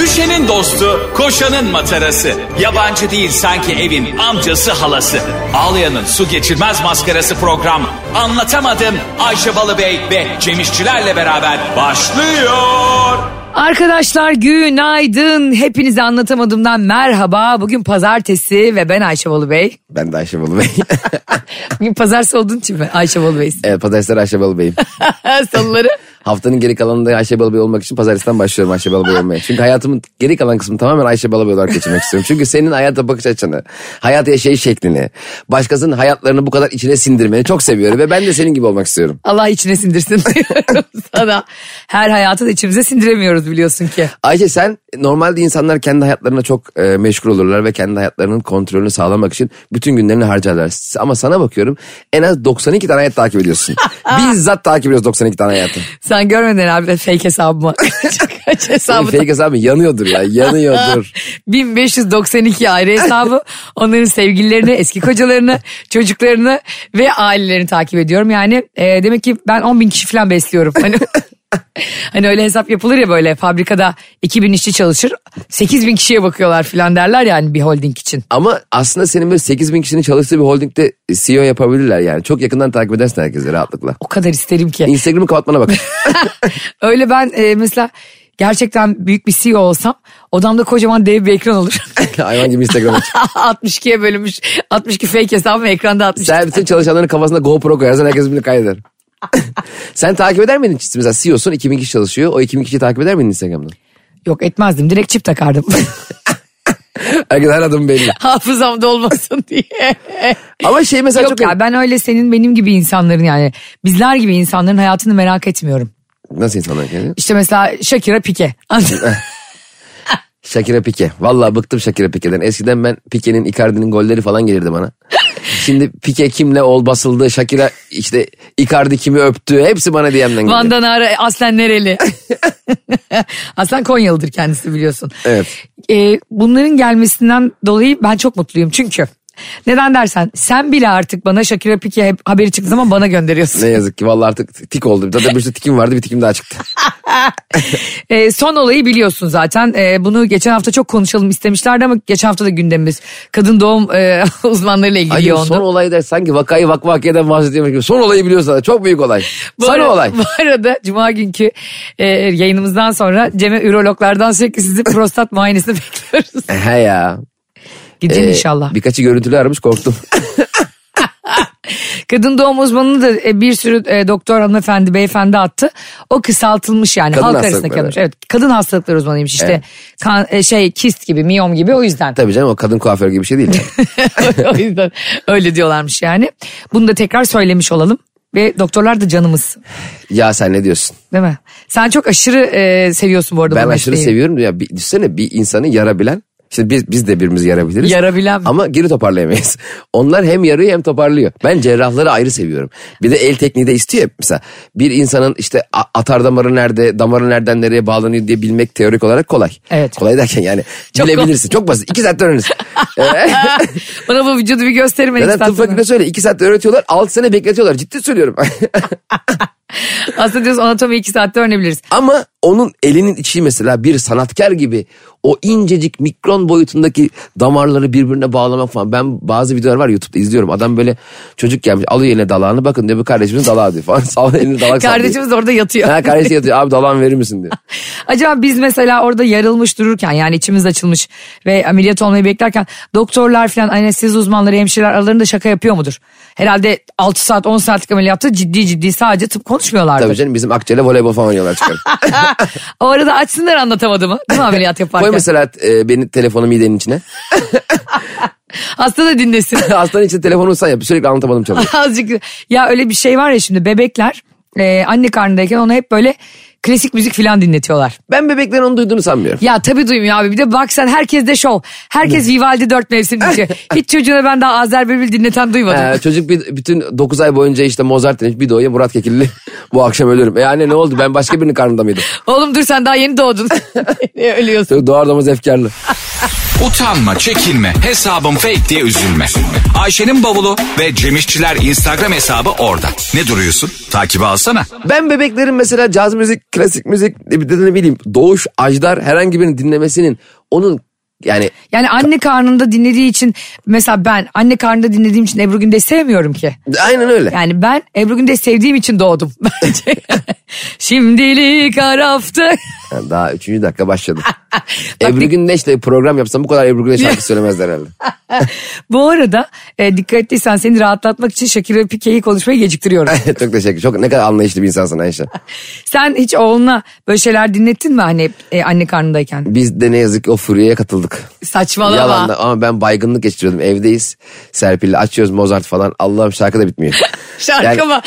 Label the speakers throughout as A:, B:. A: Ayşe'nin dostu, koşanın matarası. Yabancı değil sanki evin amcası halası. Ağlayan'ın su geçirmez maskarası program. Anlatamadım Ayşe Balıbey ve Cemişçilerle beraber başlıyor.
B: Arkadaşlar günaydın. Hepinize anlatamadığımdan merhaba. Bugün pazartesi ve ben Ayşe Bolu Bey.
C: Ben de Ayşe Balı Bey.
B: Bugün pazartesi olduğun için ben Ayşe Bolu Bey'sin.
C: evet pazartesi Ayşe Balı Bey'im.
B: Salıları.
C: Haftanın geri kalanında Ayşe Balı Bey olmak için pazartesinden başlıyorum Ayşe Balı Bey olmaya. Çünkü hayatımın geri kalan kısmını tamamen Ayşe Balı Bey olarak geçirmek istiyorum. Çünkü senin hayata bakış açını, hayat yaşayış şeklini, başkasının hayatlarını bu kadar içine sindirmeni çok seviyorum. Ve ben de senin gibi olmak istiyorum.
B: Allah içine sindirsin diyorum sana. Her hayatı da içimize sindiremiyoruz biliyorsun ki.
C: Ayşe sen normalde insanlar kendi hayatlarına çok e, meşgul olurlar ve kendi hayatlarının kontrolünü sağlamak için bütün günlerini harcarlar. Ama sana bakıyorum en az 92 tane hayat takip ediyorsun. Bizzat takip ediyoruz 92 tane hayatı.
B: Sen görmedin abi fake hesabımı. Kaç
C: Senin
B: hesabı
C: fake hesabın yanıyordur ya yanıyordur.
B: 1592 ayrı hesabı onların sevgililerini eski kocalarını çocuklarını ve ailelerini takip ediyorum yani e, demek ki ben 10 bin kişi falan besliyorum hani Hani öyle hesap yapılır ya böyle fabrikada 2000 işçi çalışır 8000 kişiye bakıyorlar falan derler yani bir holding için.
C: Ama aslında senin böyle 8 bin kişinin çalıştığı bir holdingde CEO yapabilirler yani. Çok yakından takip edersin herkesi rahatlıkla.
B: O kadar isterim ki.
C: Instagram'ı kapatmana bak.
B: Öyle ben e, mesela gerçekten büyük bir CEO olsam odamda kocaman dev bir ekran olur.
C: Hayvan gibi Instagram'a çık.
B: 62'ye bölünmüş 62 fake hesabım ekranda 60.
C: Sen bütün çalışanların kafasına GoPro koyarsan herkes birbirini kaydeder. Sen takip eder miydin? Mesela E CEO'sun 2000 kişi çalışıyor. O 2000 kişiyi takip eder miydin Instagram'dan?
B: Yok etmezdim direkt çip takardım.
C: Herkes her adım belli.
B: hafızamda olmasın diye.
C: Ama şey mesela
B: Yok
C: çok...
B: ya ben öyle senin benim gibi insanların yani bizler gibi insanların hayatını merak etmiyorum.
C: Nasıl insanlar kendini?
B: İşte mesela Shakira Pique.
C: Shakira Pique. Vallahi bıktım Shakira Pique'den. Eskiden ben Pique'nin, Icardi'nin golleri falan gelirdi bana. Şimdi Pique kimle ol basıldı, Shakira işte Icardi kimi öptü. Hepsi bana DM'den geliyor.
B: Van'dan ara Aslen nereli? Aslen Konyalıdır kendisi biliyorsun.
C: Evet.
B: Ee, bunların gelmesinden dolayı ben çok mutluyum çünkü. Neden dersen sen bile artık bana Shakira Pique hep- haberi çıktığı zaman bana gönderiyorsun.
C: Ne yazık ki vallahi artık tik oldu. Zaten bir sürü tikim vardı bir tikim daha çıktı.
B: Ee, son olayı biliyorsun zaten. Ee, bunu geçen hafta çok konuşalım istemişlerdi ama geçen hafta da gündemimiz kadın doğum e, uzmanlarıyla ilgili
C: Hayır
B: yoğundu.
C: son olay der sanki vakayı vak vakiyeden bahsediyormuş gibi. Son olayı biliyorsun çok büyük olay.
B: Bu
C: Son
B: ara-
C: olay.
B: Bu arada cuma günkü e, yayınımızdan sonra Cem'e ürologlardan sürekli sizin prostat muayenesini bekliyoruz.
C: E,
B: E,
C: He ya.
B: Gideceğim
C: Ee,
B: inşallah.
C: Birkaçı görüntülü aramış korktum.
B: Kadın doğum uzmanını da e, bir sürü e, doktor hanımefendi beyefendi attı. O kısaltılmış yani
C: Kadın
B: halk arasında
C: hastalıkları.
B: kalmış. Evet kadın hastalıkları uzmanıymış işte.
C: Evet.
B: Kan- e, şey kist gibi miyom gibi o yüzden.
C: Tabii canım o kadın kuaför gibi bir şey değil.
B: o yüzden öyle diyorlarmış yani. Bunu da tekrar söylemiş olalım. Ve doktorlar da canımız
C: ya sen ne diyorsun?
B: değil mi? Sen çok aşırı e, seviyorsun bu arada.
C: Ben
B: bu
C: aşırı
B: mesleği.
C: seviyorum. Ya bir, düşünsene bir insanı yarabilen. Şimdi biz, biz de birbirimizi yarabiliriz.
B: Yarabilen mi?
C: Ama geri toparlayamayız. Onlar hem yarıyor hem toparlıyor. Ben cerrahları ayrı seviyorum. Bir de el tekniği de istiyor. ya. Mesela bir insanın işte a- atar damarı nerede, damarı nereden nereye bağlanıyor diye bilmek teorik olarak kolay.
B: Evet.
C: Kolay derken yani
B: Çok
C: bilebilirsin. Çok basit. İki saatte öğrenirsin. Ee,
B: Bana bu vücudu bir gösterin. ben
C: Zaten
B: istersen.
C: tıp fakültesi öyle. İki saatte öğretiyorlar. Altı sene bekletiyorlar. Ciddi söylüyorum.
B: Aslında diyoruz anatomi iki saatte öğrenebiliriz.
C: Ama onun elinin içi mesela bir sanatkar gibi o incecik mikron boyutundaki damarları birbirine bağlamak falan. Ben bazı videolar var YouTube'da izliyorum. Adam böyle çocuk gelmiş alıyor eline dalağını bakın diyor bu kardeşimiz dalağı diyor falan. Sağ elini dalak sallıyor.
B: Kardeşimiz orada yatıyor.
C: Ha kardeşi yatıyor abi dalağını verir misin diyor.
B: Acaba biz mesela orada yarılmış dururken yani içimiz açılmış ve ameliyat olmayı beklerken doktorlar falan anestezi uzmanları hemşireler aralarında şaka yapıyor mudur? Herhalde 6 saat 10 saatlik ameliyatta ciddi ciddi sadece tıp konuşmuyorlardı.
C: Tabii canım bizim akçeyle voleybol falan oynuyorlar çıkar.
B: O arada açsınlar anlatamadığımı değil mi ameliyat
C: Koy
B: yaparken?
C: mesela e, beni telefonu midenin içine.
B: Hasta da dinlesin.
C: Hastanın içinde telefonu sen yap. Sürekli anlatamadım çalıyor.
B: Azıcık ya öyle bir şey var ya şimdi bebekler e, anne karnındayken ona hep böyle klasik müzik falan dinletiyorlar.
C: Ben bebeklerin onu duyduğunu sanmıyorum.
B: Ya tabii duymuyor abi. Bir de bak sen herkes de şov. Herkes Vivaldi dört mevsim dinliyor. Hiç çocuğuna ben daha Azer Bülbül dinleten duymadım.
C: Ee, çocuk bir, bütün 9 ay boyunca işte Mozart dinlemiş bir doğuya Murat Kekilli bu akşam ölürüm. E anne ne oldu ben başka birinin karnında mıydım?
B: Oğlum dur sen daha yeni doğdun. Niye ölüyorsun?
C: Doğar doğmaz efkarlı.
A: Utanma, çekinme, hesabım fake diye üzülme. Ayşe'nin bavulu ve Cemişçiler Instagram hesabı orada. Ne duruyorsun? Takibi alsana.
C: Ben bebeklerin mesela caz müzik, klasik müzik ne- bir de ne bileyim doğuş, ajdar herhangi birini dinlemesinin onun yani
B: Yani anne karnında dinlediği için mesela ben anne karnında dinlediğim için Ebru Gündeş'i sevmiyorum ki.
C: aynen öyle.
B: Yani ben Ebru Gündeş sevdiğim için doğdum bence. Şimdilik araftı.
C: Yani daha üçüncü dakika başladı.
B: de-
C: Ebru Güneş'le program yapsam bu kadar Ebru Güneş şarkı söylemezler herhalde.
B: Bu arada e, dikkat ettiysen seni rahatlatmak için Shakira Pike'yi konuşmayı geciktiriyorum.
C: çok teşekkür. Çok ne kadar anlayışlı bir insansın Ayşe.
B: Sen hiç oğluna böyle şeyler dinlettin mi hani e, anne karnındayken?
C: Biz de ne yazık ki o furyaya katıldık.
B: Saçmalama.
C: Yalanda ama ben baygınlık geçiriyordum. Evdeyiz. Serpil'le açıyoruz Mozart falan. Allah'ım şarkı da bitmiyor.
B: Şarkı mı?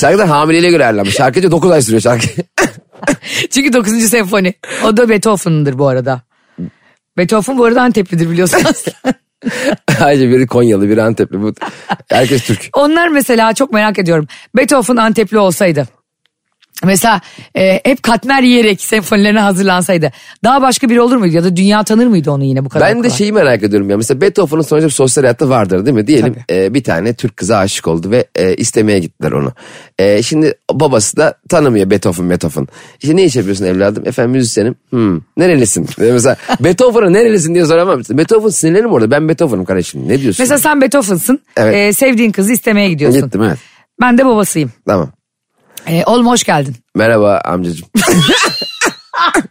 C: şarkı da hamileyle göre ayarlanmış. Şarkıcı 9 ay sürüyor şarkı.
B: Çünkü 9. senfoni. O da Beethoven'dır bu arada. Beethoven bu arada Anteplidir biliyorsunuz.
C: Ayrıca biri Konyalı, biri Antepli. Bu, herkes Türk.
B: Onlar mesela çok merak ediyorum. Beethoven Antepli olsaydı. Mesela e, hep katmer yiyerek senfonilerine hazırlansaydı. Daha başka biri olur muydu ya da dünya tanır mıydı onu yine bu kadar?
C: Ben de şey-
B: kolay?
C: şeyi merak ediyorum ya. Mesela Beethoven'ın sonuçta bir sosyal hayatta vardır değil mi? Diyelim e, bir tane Türk kıza aşık oldu ve e, istemeye gittiler onu. E, şimdi babası da tanımıyor Beethoven, Beethoven. İşte ne iş yapıyorsun evladım? Efendim müzisyenim. Hmm, nerelisin? Mesela Beethoven'a nerelisin diye soramam. Beethoven sinirlerim orada. Ben Beethoven'ım kardeşim. Ne diyorsun?
B: Mesela sen Beethoven'sın.
C: Evet.
B: E, sevdiğin kızı istemeye gidiyorsun.
C: Gittim evet.
B: Ben de babasıyım.
C: Tamam.
B: E, oğlum hoş geldin.
C: Merhaba amcacığım.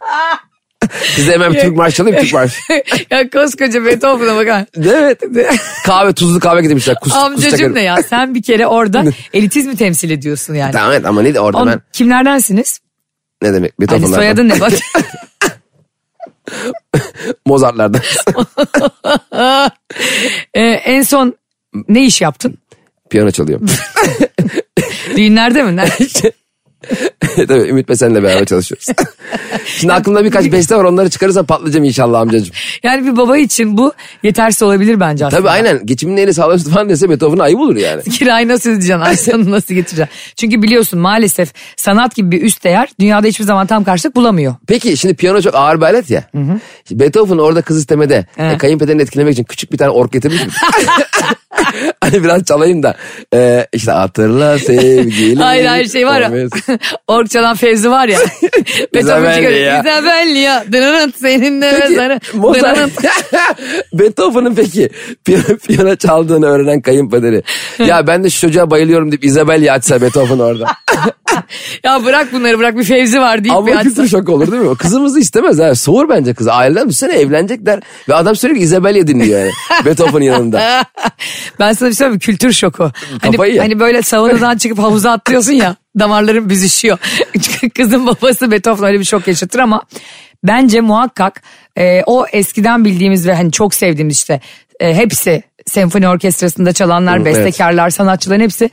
C: Size hemen bir Türk marşı alayım Türk marşı.
B: ya koskoca Beethoven'a bakar.
C: Evet. Kahve tuzlu kahve getirmişler. Kus,
B: Amcacım
C: kusacak-
B: ne ya sen bir kere orada elitizmi temsil ediyorsun yani.
C: Hani- Tamam evet ama ne de orada
B: On-
C: ben
B: kimlerdensiniz?
C: ne demek
B: Hani
C: Beethoven'lardan.
B: soyadın ne bak.
C: Mozart'lardan.
B: E, en son ne iş yaptın?
C: Piyano çalıyor.
B: Düğünlerde mi? Nerede?
C: Tabii Ümit ve senle beraber çalışıyoruz. Şimdi aklımda birkaç beste var onları çıkarırsam patlayacağım inşallah amcacığım.
B: Yani bir baba için bu yetersiz olabilir bence aslında.
C: Tabii aynen geçimin neyle sağlamıştı falan dese Beethoven'a ayıp olur yani.
B: Kirayı nasıl ödeyeceksin? Aysan'ı nasıl getireceksin? Çünkü biliyorsun maalesef sanat gibi bir üst değer dünyada hiçbir zaman tam karşılık bulamıyor.
C: Peki şimdi piyano çok ağır bir alet ya. Şimdi Beethoven orada kız istemede
B: Evet.
C: e, kayınpederini etkilemek için küçük bir tane ork getirmiş mi? hani biraz çalayım da e, işte hatırla sevgili.
B: Hayır her şey var ya.
C: Ahmet.
B: Ork çalan Fevzi var ya. Beethoven çıkarıyor.
C: ya.
B: İzabelli ya. Dınanın senin de
C: Peki,
B: sana. Dınanın.
C: Mozart, Beethoven'ın peki piyano, piyano çaldığını öğrenen kayınpederi. ya ben de şu çocuğa bayılıyorum deyip Isabel açsa Beethoven orada.
B: Ya bırak bunları bırak bir Fevzi var deyip bir
C: Ama
B: açsın.
C: kültür şok olur değil mi? O Kızımızı istemez ha. Soğur bence kızı. Aileler bir sene evlenecekler. Ve adam sürekli Isabelya dinliyor yani. Beethoven yanında.
B: Ben sana bir şey söyleyeyim mi? Kültür şoku.
C: Kafayı
B: Hani,
C: ya.
B: hani böyle saunadan çıkıp havuza atlıyorsun ya damarların büzüşüyor. Kızın babası Beethoven öyle bir şok yaşatır ama bence muhakkak e, o eskiden bildiğimiz ve hani çok sevdiğimiz işte e, hepsi senfoni orkestrasında çalanlar,
C: Hı, evet.
B: bestekarlar, sanatçıların hepsi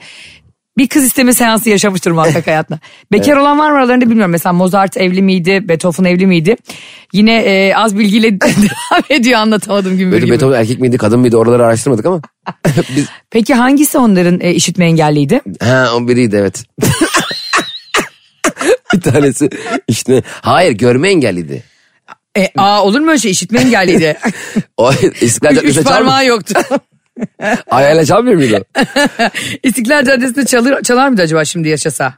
B: bir kız isteme seansı yaşamıştır muhakkak hayatına. Bekar olan var mı aralarında bilmiyorum. Mesela Mozart evli miydi, Beethoven evli miydi? Yine e, az bilgiyle devam ediyor anlatamadım gümbür
C: Peki
B: gibi.
C: Beethoven erkek miydi kadın mıydı oraları araştırmadık ama. Biz,
B: Peki hangisi onların e, işitme engelliydi?
C: ha o biriydi evet. bir tanesi işte hayır görme engelliydi.
B: E, aa olur mu öyle şey işitme engelliydi.
C: O İstiklal
B: üç, üç
C: Caddesi'nde çalmıyor.
B: parmağı yoktu.
C: Ayağıyla çalmıyor muydu?
B: İstiklal Caddesi'nde çalır, çalar mıydı acaba şimdi yaşasa?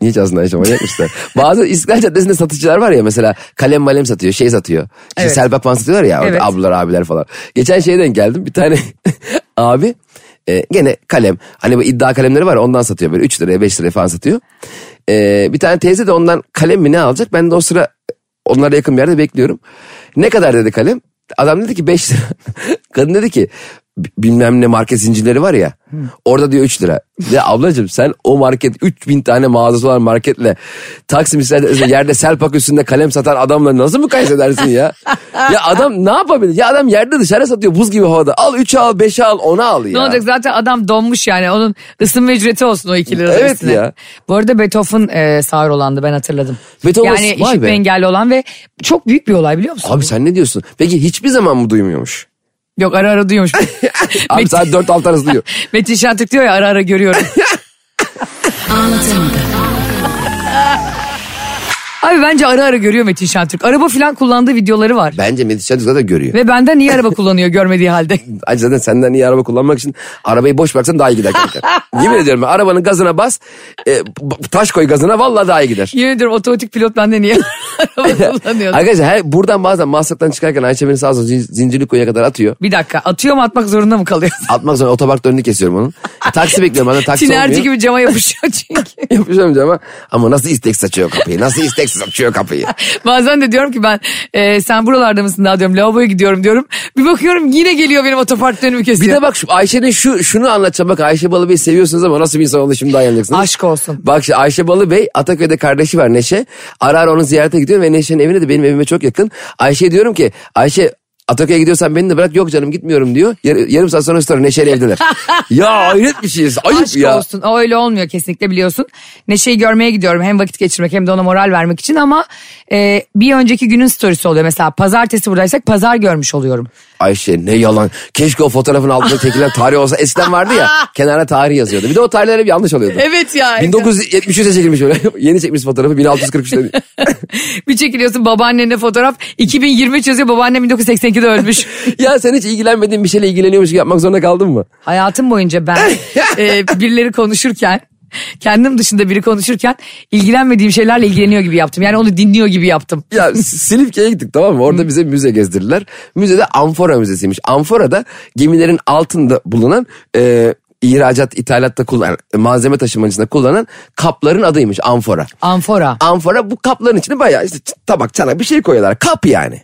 C: Niye çalsın Ayşe manyak mısın? Bazı İstiklal Caddesi'nde satıcılar var ya mesela kalem malem satıyor şey satıyor. İşte
B: Evet.
C: Selbak falan satıyorlar ya orada
B: Evet.
C: ablalar abiler falan. Geçen şeyden geldim bir tane abi e, gene kalem hani bu iddia kalemleri var ya, ondan satıyor böyle 3 liraya 5 liraya falan satıyor. E, bir tane teyze de ondan kalem mi ne alacak ben de o sıra onlara yakın bir yerde bekliyorum. Ne kadar dedi kalem? Adam dedi ki 5 lira. Kadın dedi ki "B- bilmem ne market zincirleri var ya. Orada diyor 3 lira. Ya ablacığım sen o market 3000 tane mağazası olan marketle Taksim İsrail'de yerde selpak üstünde kalem satan adamla nasıl mı kaysedersin ya? ya adam ne yapabilir? Ya adam yerde dışarı satıyor buz gibi havada. Al 3'ü al 5'i al 10'u al ya.
B: Ne olacak zaten adam donmuş yani onun ısınma ücreti olsun o iki lira
C: Evet
B: üstüne.
C: ya.
B: Bu arada Beethoven e, sağır olandı ben hatırladım.
C: Beethoven-
B: yani
C: vay
B: işitme
C: be.
B: engelli olan ve çok büyük bir olay biliyor musun?
C: Abi sen ne diyorsun? Peki hiçbir zaman mı duymuyormuş?
B: Yok ara ara duyuyormuş.
C: Abi saat 4-6 arası duyuyor.
B: Metin Şentürk diyor ya ara ara görüyorum. Abi bence ara ara görüyor Metin Şentürk. Araba falan kullandığı videoları var.
C: Bence Metin Şentürk zaten görüyor.
B: Ve benden niye araba kullanıyor görmediği halde?
C: Ay zaten senden iyi araba kullanmak için arabayı boş bıraksan daha iyi gider kanka. Yemin ediyorum ben arabanın gazına bas, e, b- taş koy gazına vallahi daha iyi gider.
B: Yemin ediyorum otomatik pilot benden niye araba kullanıyor?
C: Arkadaşlar her, buradan bazen Maslak'tan çıkarken Ayşe beni sağ olsun zin- Zincirlikuyu kadar atıyor.
B: Bir dakika atıyor mu atmak zorunda mı kalıyor?
C: Atmak sonra otoparkta önünü kesiyorum onun. E, Taksi bekliyorum bana taksi
B: Tinerci
C: olmuyor.
B: gibi cama yapışıyor çünkü.
C: Yapışamayacağım ama, ama nasıl istek saçıyor kapıyı? Nasıl istek saçıyor kapıyı?
B: Bazen de diyorum ki ben e, sen buralarda mısın daha diyorum lavaboya gidiyorum diyorum. Bir bakıyorum yine geliyor benim otopark önümü
C: Bir
B: kesiyor.
C: de bak şu Ayşe'nin şu şunu anlatacağım. Bak Ayşe Balıbey'i seviyorsunuz ama nasıl bir insan olduğunu şimdi anlayacaksınız.
B: Aşk olsun.
C: Bak şimdi Ayşe Balıbey Ataköy'de kardeşi var Neşe. Ara ara onu ziyarete gidiyor ve Neşe'nin evine de benim evime çok yakın. Ayşe'ye diyorum ki Ayşe Ataköy'e gidiyorsan beni de bırak yok canım gitmiyorum diyor. Yar- yarım saat sonra story Neşe'yle evdeler. ya hayret bir şeyiz. Ayıp
B: Aşk
C: ya.
B: olsun. O öyle olmuyor kesinlikle biliyorsun. Neşe'yi görmeye gidiyorum hem vakit geçirmek hem de ona moral vermek için ama e, bir önceki günün storiesi oluyor. Mesela pazartesi buradaysak pazar görmüş oluyorum.
C: Ayşe ne yalan. Keşke o fotoğrafın altında çekilen tarih olsa. Eskiden vardı ya kenara tarih yazıyordu. Bir de o tarihler hep yanlış oluyordu.
B: Evet ya.
C: 1973'e çekilmiş öyle. Yeni çekmiş fotoğrafı 1643'te.
B: bir çekiliyorsun babaannenle fotoğraf 2023 yazıyor babaannem 1982'de ölmüş.
C: Ya sen hiç ilgilenmediğin bir şeyle ilgileniyormuş gibi yapmak zorunda kaldın mı?
B: Hayatım boyunca ben e, birileri konuşurken kendim dışında biri konuşurken ilgilenmediğim şeylerle ilgileniyor gibi yaptım. Yani onu dinliyor gibi yaptım.
C: Ya Silifke'ye gittik tamam mı? Orada bize müze gezdirdiler. Müzede amfora müzesiymiş. Amforada gemilerin altında bulunan e, ihracat, ithalatta kullanan, malzeme taşımacısında kullanan kapların adıymış amfora.
B: Amfora.
C: Amfora bu kapların içine bayağı işte ç- tabak, çanak bir şey koyuyorlar. Kap yani.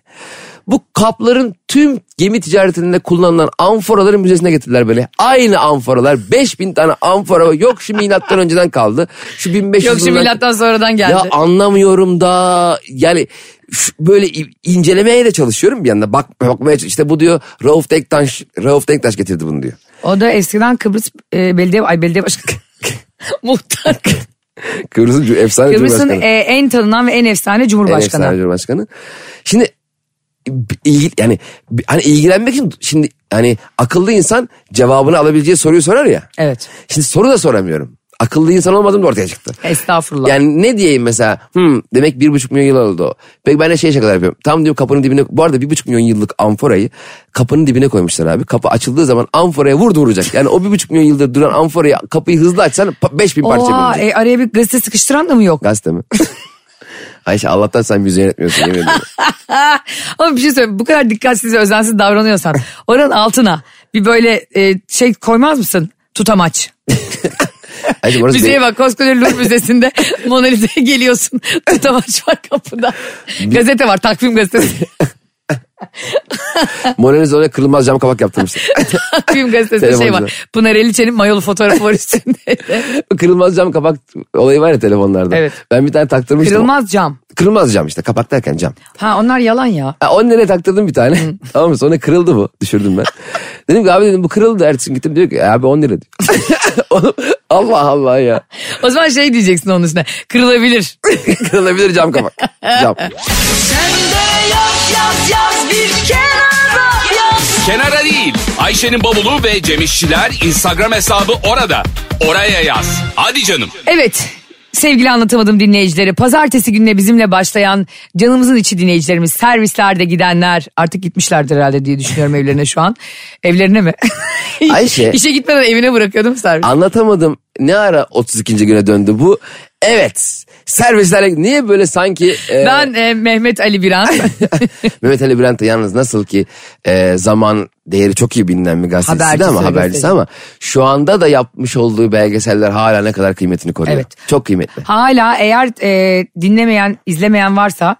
C: Bu kapların tüm gemi ticaretinde kullanılan amforaları müzesine getirdiler böyle. Aynı amforalar 5000 tane amfora yok şu milattan önceden kaldı. Şu 1500
B: Yok şu
C: yılından-
B: milattan sonradan geldi.
C: Ya anlamıyorum da yani şu- böyle i- incelemeye de çalışıyorum bir yanda. Bak, bakmaya çalış- işte bu diyor Rauf Denktaş, Rauf Denktaş getirdi bunu diyor.
B: O da eskiden Kıbrıs e, belediye ay belediye başkanı muhtar.
C: Kıbrıs'ın cu- efsane
B: Kıbrıs'ın
C: Cumhurbaşkanı.
B: e, en tanınan ve en efsane cumhurbaşkanı.
C: En efsane Cumhurbaşkanı. Şimdi b- ilgi, yani b- hani ilgilenmek için şimdi hani akıllı insan cevabını alabileceği soruyu sorar ya.
B: Evet.
C: Şimdi soru da soramıyorum. Akıllı insan olmadığım da ortaya çıktı.
B: Estağfurullah.
C: Yani ne diyeyim mesela hmm, demek bir buçuk milyon yıl oldu. o. Peki ben de şey şakalar yapıyorum. Tam diyor kapının dibine bu arada bir buçuk milyon yıllık amforayı kapının dibine koymuşlar abi. Kapı açıldığı zaman amforaya vurdu vuracak. Yani o bir buçuk milyon yıldır duran amforayı kapıyı hızlı açsan pa- beş bin parça
B: Oha,
C: bilecek.
B: e, araya bir gazete sıkıştıran da mı yok?
C: Gazete mi? Ayşe Allah'tan sen müziği yönetmiyorsun yemin ediyorum.
B: Ama bir şey söyleyeyim bu kadar dikkatsiz ve özensiz davranıyorsan oranın altına bir böyle e, şey koymaz mısın? Tutamaç.
C: Ayşe orası
B: Müzeye
C: benim-
B: bak koskoca Louvre Müzesi'nde Mona Lisa'ya geliyorsun. Tutamaç var kapıda. Gazete var takvim gazetesi.
C: Mona Lisa oraya kırılmaz cam kapak yaptırmışlar.
B: takvim gazetesi şey
C: Telefoncuda.
B: var. Pınar Eliçen'in mayolu fotoğrafı var üstünde.
C: kırılmaz cam kapak olayı var ya telefonlarda.
B: Evet.
C: Ben bir tane taktırmıştım.
B: Kırılmaz cam.
C: Kırılmaz cam işte kapak derken cam.
B: Ha onlar yalan ya.
C: Ha, 10 liraya taktırdım bir tane. tamam mı? Sonra kırıldı bu. Düşürdüm ben. dedim ki abi dedim bu kırıldı. Ertesi gün gittim diyor ki "E, abi 10 lira diyor. Allah Allah ya.
B: O zaman şey diyeceksin onun üstüne. Kırılabilir.
C: Kırılabilir cam kapak. Cam.
A: Kenara değil. Ayşe'nin bavulu ve Cemişçiler Instagram hesabı orada. Oraya yaz. Hadi canım.
B: Evet. Sevgili anlatamadım dinleyicileri. Pazartesi gününe bizimle başlayan canımızın içi dinleyicilerimiz, servislerde gidenler artık gitmişlerdir herhalde diye düşünüyorum evlerine şu an. Evlerine mi?
C: Ayşe.
B: İşe gitmeden evine bırakıyordum servis.
C: Anlatamadım. Ne ara 32. güne döndü bu? Evet. Servislerle niye böyle sanki e,
B: Ben e, Mehmet Ali Biran.
C: Mehmet Ali Bülent de yalnız nasıl ki e, zaman değeri çok iyi bilinen bir gazetecisi
B: Habercisi,
C: de ama habercisi
B: gazeteci.
C: ama şu anda da yapmış olduğu belgeseller hala ne kadar kıymetini koruyor.
B: Evet.
C: Çok kıymetli.
B: Hala eğer e, dinlemeyen, izlemeyen varsa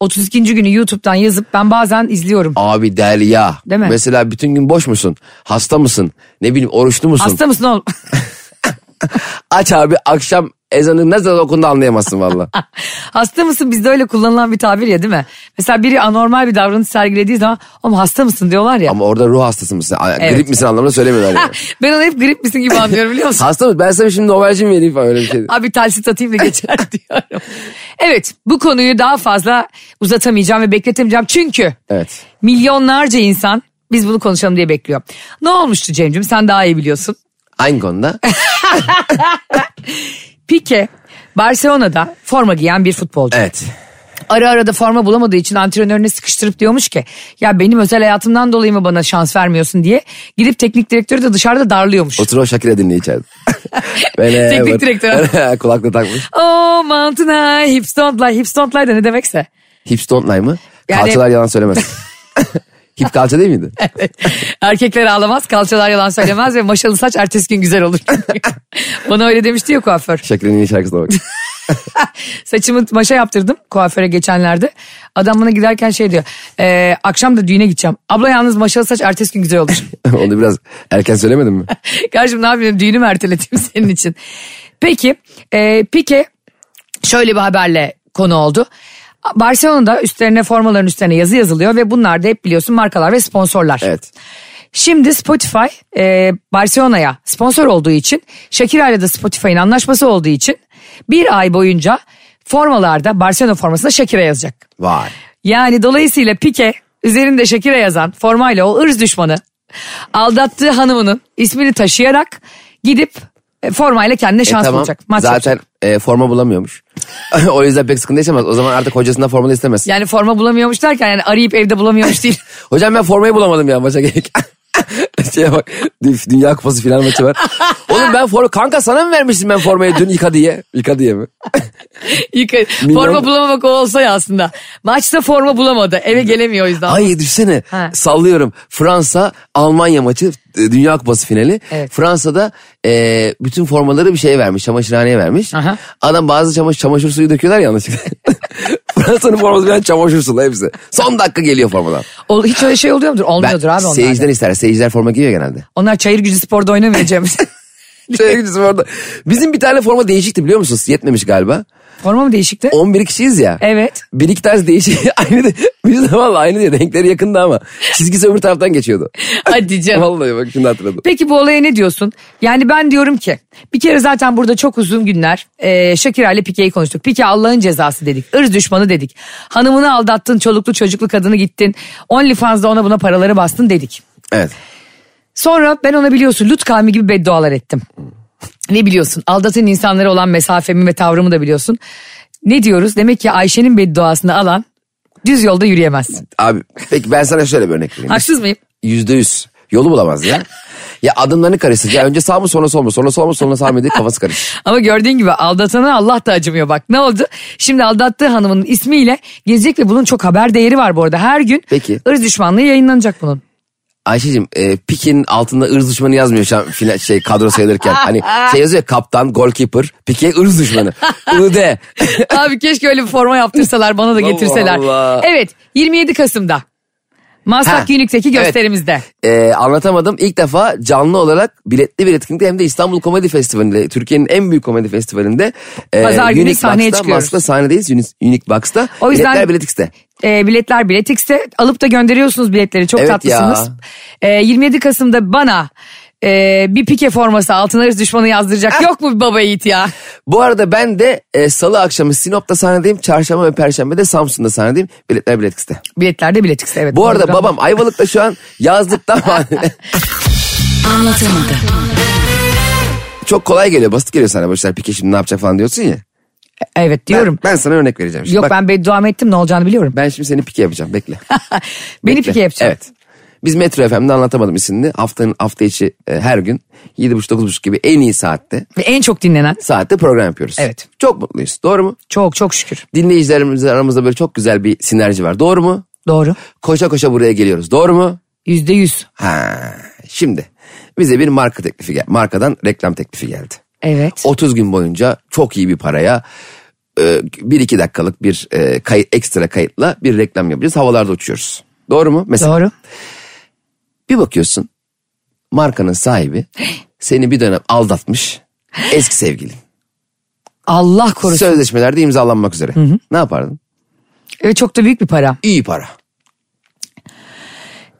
B: 32. günü YouTube'dan yazıp ben bazen izliyorum.
C: Abi Derya.
B: Değil mi?
C: Mesela bütün gün boş musun? Hasta mısın? Ne bileyim oruçlu musun?
B: Hasta mısın oğlum?
C: Aç abi akşam ezanı ne zaman okundu anlayamazsın valla.
B: hasta mısın bizde öyle kullanılan bir tabir ya değil mi? Mesela biri anormal bir davranış sergilediği zaman oğlum hasta mısın diyorlar ya.
C: ama orada ruh hastası mısın? Ay,
B: Evet.
C: Grip misin anlamında söylemiyorlar. yani.
B: ben onu hep grip misin gibi anlıyorum biliyor musun?
C: Hasta mı? Ben sana şimdi Nobel'cim vereyim falan öyle bir şey.
B: Abi talsit atayım da geçer diyorum. Evet bu konuyu daha fazla uzatamayacağım ve bekletemeyeceğim. Çünkü
C: Evet.
B: milyonlarca insan biz bunu konuşalım diye bekliyor. Ne olmuştu Cem'cim sen daha iyi biliyorsun.
C: Hangi konuda?
B: Pike Barcelona'da forma giyen bir futbolcu.
C: Evet.
B: Ara ara da forma bulamadığı için antrenörüne sıkıştırıp diyormuş ki ya benim özel hayatımdan dolayı mı bana şans vermiyorsun diye gidip teknik direktörü de dışarıda darlıyormuş.
C: Otur o Şakir'e dinleyeceğim. Böyle
B: Teknik
C: böyle-
B: direktör.
C: Kulaklığı takmış.
B: Oh mountain high, hips don't lie, hips don't lie de ne demekse.
C: Hips don't lie mı?
B: Yani-
C: Kalçalar yalan söylemez. Hip kalça değil miydi?
B: Erkekler ağlamaz, kalçalar yalan söylemez ve maşalı saç ertesi gün güzel olur. Bana öyle demişti ya kuaför.
C: Şakir'in yeni şarkısına bak.
B: Saçımı maşa yaptırdım kuaföre geçenlerde. Adam bana giderken şey diyor. "Ee, akşam da düğüne gideceğim. Abla yalnız maşalı saç ertesi gün güzel olur.
C: Onu biraz erken söylemedin mi?
B: Kardeşim ne yapayım düğünü mü erteleteyim senin için. Peki e, Pique şöyle bir haberle konu oldu. Barcelona'da üstlerine formaların üstlerine yazı yazılıyor ve bunlar da hep biliyorsun markalar ve sponsorlar.
C: Evet.
B: Şimdi Spotify e, Barcelona'ya sponsor olduğu için Shakira ile de Spotify'ın anlaşması olduğu için bir ay boyunca formalarda Barcelona formasında Shakira yazacak.
C: Vay.
B: Yani dolayısıyla Pike üzerinde Shakira yazan formayla o ırz düşmanı aldattığı hanımının ismini taşıyarak gidip e, formayla kendine şans bulacak. Maç
C: Zaten
B: yapacak.
C: e, forma bulamıyormuş. o yüzden pek sıkıntı yaşamaz. O zaman artık hocasından formalı istemez.
B: Yani forma bulamıyormuş derken yani arayıp evde bulamıyormuş değil.
C: Hocam ben formayı bulamadım ya maça gerek. Şeye bak Dü- Dünya Kupası final maçı var. Oğlum ben forma kanka sana mı vermiştim ben formayı dün yıka diye? Yıka diye mi?
B: Yıka- forma bulamamak o olsa ya aslında. Maçta forma bulamadı. Eve gelemiyor o yüzden.
C: Ay düşsene
B: Ha.
C: sallıyorum Fransa Almanya maçı e, Dünya Kupası finali.
B: Evet.
C: Fransa'da e, bütün formaları bir şeye vermiş çamaşırhaneye vermiş.
B: Aha.
C: Adam bazı çamaşır, çamaşır suyu döküyorlar ya yanlışlıkla. Fransa'nın forması biraz çamaşır sulu hepsi. Son dakika geliyor formadan.
B: Ol- Hiç öyle şey oluyor mudur?
C: Ben,
B: Olmuyordur abi onlar.
C: seyirciden ister. Seyirciler forma giyiyor genelde.
B: Onlar çayır gücü sporda oynamayacağımız.
C: Şöyle gideceğiz orada. Bizim bir tane forma değişikti biliyor musunuz? Yetmemiş galiba.
B: forma mı değişikti?
C: 11 kişiyiz ya.
B: Evet.
C: Bir iki tanesi değişik. aynı de, bir zamanla aynı diye renkleri yakındı ama çizgisi öbür taraftan geçiyordu.
B: Hadi canım.
C: Vallahi bak şimdi hatırladım.
B: Peki bu olaya ne diyorsun? Yani ben diyorum ki bir kere zaten burada çok uzun günler e, Shakira ile Pike'yi konuştuk. Pike Allah'ın cezası dedik. Irz düşmanı dedik. Hanımını aldattın, çoluklu çocuklu kadını gittin. OnlyFans'da ona buna paraları bastın dedik.
C: Evet.
B: Sonra ben ona biliyorsun Lut kavmi gibi beddualar ettim. Ne biliyorsun? Aldatan insanlara olan mesafemi ve tavrımı da biliyorsun. Ne diyoruz? Demek ki Ayşe'nin bedduasını alan düz yolda yürüyemez.
C: Abi peki ben sana şöyle bir örnek vereyim.
B: Haksız mıyım?
C: Yüzde yüz. Yolu bulamaz ya. Ya adımlarını karıştır. Ya önce sağ mı sonra sol mu? Sonra sol mu sonra sağ mı diye kafası karışır.
B: Ama gördüğün gibi aldatana Allah da acımıyor bak. Ne oldu? Şimdi aldattığı hanımın ismiyle gezecek ve bunun çok haber değeri var bu arada. Her gün
C: Peki.
B: ırz düşmanlığı yayınlanacak bunun.
C: Ayşe'cim e, Piki'nin altında ırz düşmanı yazmıyor şu an final, şey, kadro sayılırken. Hani şey yazıyor ya, kaptan, golkeeper, Piki'ye ırz düşmanı. Ide.
B: Abi keşke öyle bir forma yaptırsalar bana da getirseler.
C: Allah.
B: Evet 27 Kasım'da.
C: Ha,
B: Maslak Unique'deki
C: evet.
B: gösterimizde.
C: Ee, anlatamadım. İlk defa canlı olarak biletli bir etkinlikte hem de İstanbul Komedi Festivali'nde Türkiye'nin en büyük komedi festivalinde e,
B: Pazar günü
C: Unique
B: sahneye
C: Box'ta,
B: çıkıyoruz.
C: Maslak'ta sahnedeyiz Unique- Unique Box'ta.
B: O yüzden-
C: Biletler Bilet X'te.
B: E, biletler Bilet X'te. Alıp da gönderiyorsunuz biletleri. Çok
C: Evet
B: tatlısınız. E, 27 Kasım'da bana e, bir pike forması altına ırz düşmanı
C: Ah.
B: yazdıracak. Yok mu bir baba yiğit ya?
C: Bu arada ben de e, salı akşamı Sinop'ta sahnedeyim. Çarşamba ve perşembe de Samsun'da sahnedeyim. Biletler Bilet X'te.
B: Biletler de Bilet X'te evet.
C: Bu arada
B: Doğrudur ama-
C: babam Ayvalık'ta şu an yazlıktan
B: Anlatamadı.
C: çok kolay geliyor. Basit geliyor sana bu işler. Pike şimdi ne yapacak falan diyorsun ya.
B: Evet diyorum.
C: Ben sana örnek vereceğim. Şimdi
B: Yok
C: bak,
B: ben
C: ben...
B: bedduam ettim ne olacağını biliyorum.
C: şimdi seni pike yapacağım. Bekle.
B: Beni
C: Bekle.
B: pike yapacağım.
C: Evet. Biz Metro FM'de anlatamadım isimli. Haftanın hafta içi e, her gün 7.30-9.30 gibi en iyi saatte
B: Ve en çok dinlenen
C: saatte program yapıyoruz.
B: Evet.
C: Çok mutluyuz. Doğru mu?
B: çok çok şükür.
C: Dinleyicilerimiz aramızda böyle çok güzel bir sinerji var. Doğru mu?
B: Doğru.
C: Koşa koşa buraya geliyoruz. Doğru mu?
B: Yüzde yüz.
C: Ha. Şimdi bize bir marka teklifi geldi. Markadan reklam teklifi geldi.
B: Evet.
C: 30 gün boyunca çok iyi bir paraya e, bir iki dakikalık bir e, kayıt, ekstra kayıtla bir reklam yapacağız. Havalarda uçuyoruz. Doğru mu? Mesela
B: Doğru.
C: Bir bakıyorsun markanın sahibi seni bir dönem aldatmış eski sevgilin.
B: Allah korusun.
C: Sözleşmelerde imzalanmak üzere. Ne yapardın?
B: Evet çok da büyük bir para.
C: İyi para.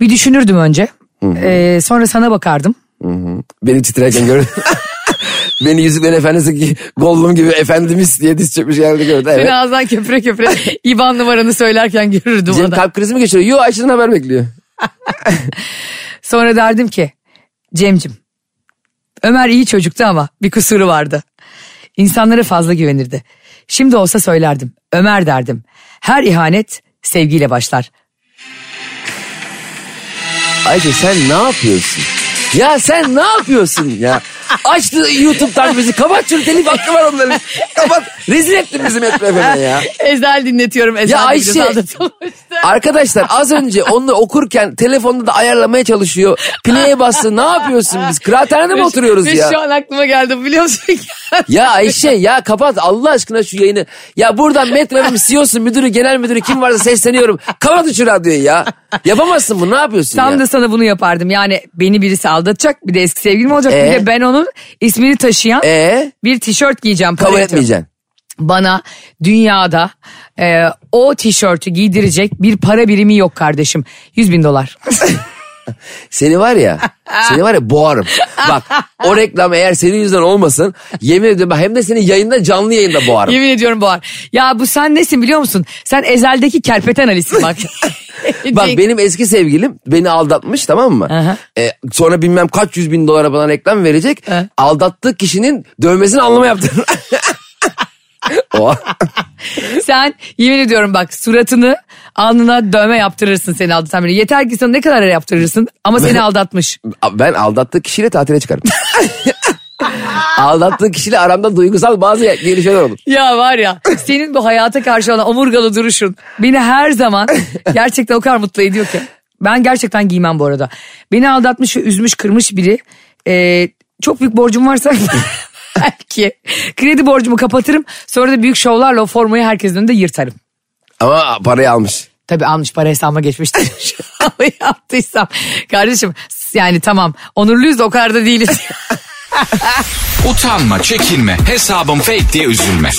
B: Bir düşünürdüm önce. Ee, sonra sana bakardım.
C: Beni titrerken gördün. Beni Yüzüklerin Efendisi gibi, Gollum gibi efendimiz diye diz çökmüş yerde gördü.
B: Seni
C: Evet.
B: ağzından köpüre köpüre İban numaranı söylerken görürdüm
C: Cem
B: onu.
C: kalp krizi mi geçiriyor? Yo Ayşe'den haber bekliyor.
B: Sonra derdim ki Cemcim Ömer iyi çocuktu ama bir kusuru vardı. İnsanlara fazla güvenirdi. Şimdi olsa söylerdim. Ömer derdim. Her ihanet sevgiyle başlar.
C: Ayşe sen ne yapıyorsun? Ya sen ne yapıyorsun ya? Aç YouTube'dan bizi. Kapat şunu telif hakkı var onların. Kapat. Rezil ettin bizi Metro FM'e ya.
B: Ezel dinletiyorum. Ezel
C: Ya
B: bir
C: Ayşe.
B: biraz aldatılmıştı.
C: Arkadaşlar az önce onu okurken telefonda da ayarlamaya çalışıyor. Play'e bastı. Ne yapıyorsun biz? Kıraathanede mi oturuyoruz
B: Ve
C: ya?
B: şu an aklıma geldi biliyor musun?
C: Ya Ayşe ya kapat Allah aşkına şu yayını. Ya buradan Metro FM CEO'su E müdürü genel müdürü kim varsa sesleniyorum. Kapat şu radyoyu ya. Yapamazsın bunu ne yapıyorsun ya?
B: Tam da sana bunu yapardım. Yani beni birisi aldatacak bir de eski sevgilim olacak.
C: Ee?
B: Bir de ben onun ismini taşıyan
C: Ee?
B: bir tişört giyeceğim.
C: Kabul
B: Paletto.
C: etmeyeceksin.
B: Bana dünyada e, o tişörtü giydirecek bir para birimi yok kardeşim. 100 bin dolar.
C: Seni var ya, seni var ya boğarım. Bak o reklam eğer senin yüzünden olmasın yemin ediyorum ben hem de seni yayında canlı yayında boğarım.
B: Yemin ediyorum Boğar. Ya bu sen nesin biliyor musun? Sen Ezel'deki kerpeten Ali'sin bak.
C: Bak
B: Cenk-
C: benim eski sevgilim beni aldatmış tamam mı?
B: Aha.
C: Ee, sonra bilmem kaç yüz bin dolara bana reklam verecek.
B: He.
C: Aldattığı kişinin dövmesini anlama yaptı. o,
B: Sen yemin ediyorum bak suratını alnına dövme yaptırırsın seni aldatan biri. Yeter ki sana ne kadar yaptırırsın ama seni aldatmış.
C: ben aldattığı kişiyle tatile çıkarım. aldattığı kişiyle aramda duygusal bazı gelişmeler olur.
B: Ya var ya senin bu hayata karşı olan omurgalı duruşun beni her zaman gerçekten o kadar mutlu ediyor ki. Ben gerçekten giymem bu arada. Beni aldatmış ve üzmüş kırmış biri. Ee, çok büyük borcum varsa belki kredi borcumu kapatırım. Sonra da büyük şovlarla o formayı herkesin önünde yırtarım.
C: Ama parayı almış.
B: Tabii almış para hesabıma geçmiştir. Ama yaptıysam. Kardeşim yani tamam onurluyuz da o kadar da değiliz.
A: Utanma, çekinme, hesabım fake diye üzülme.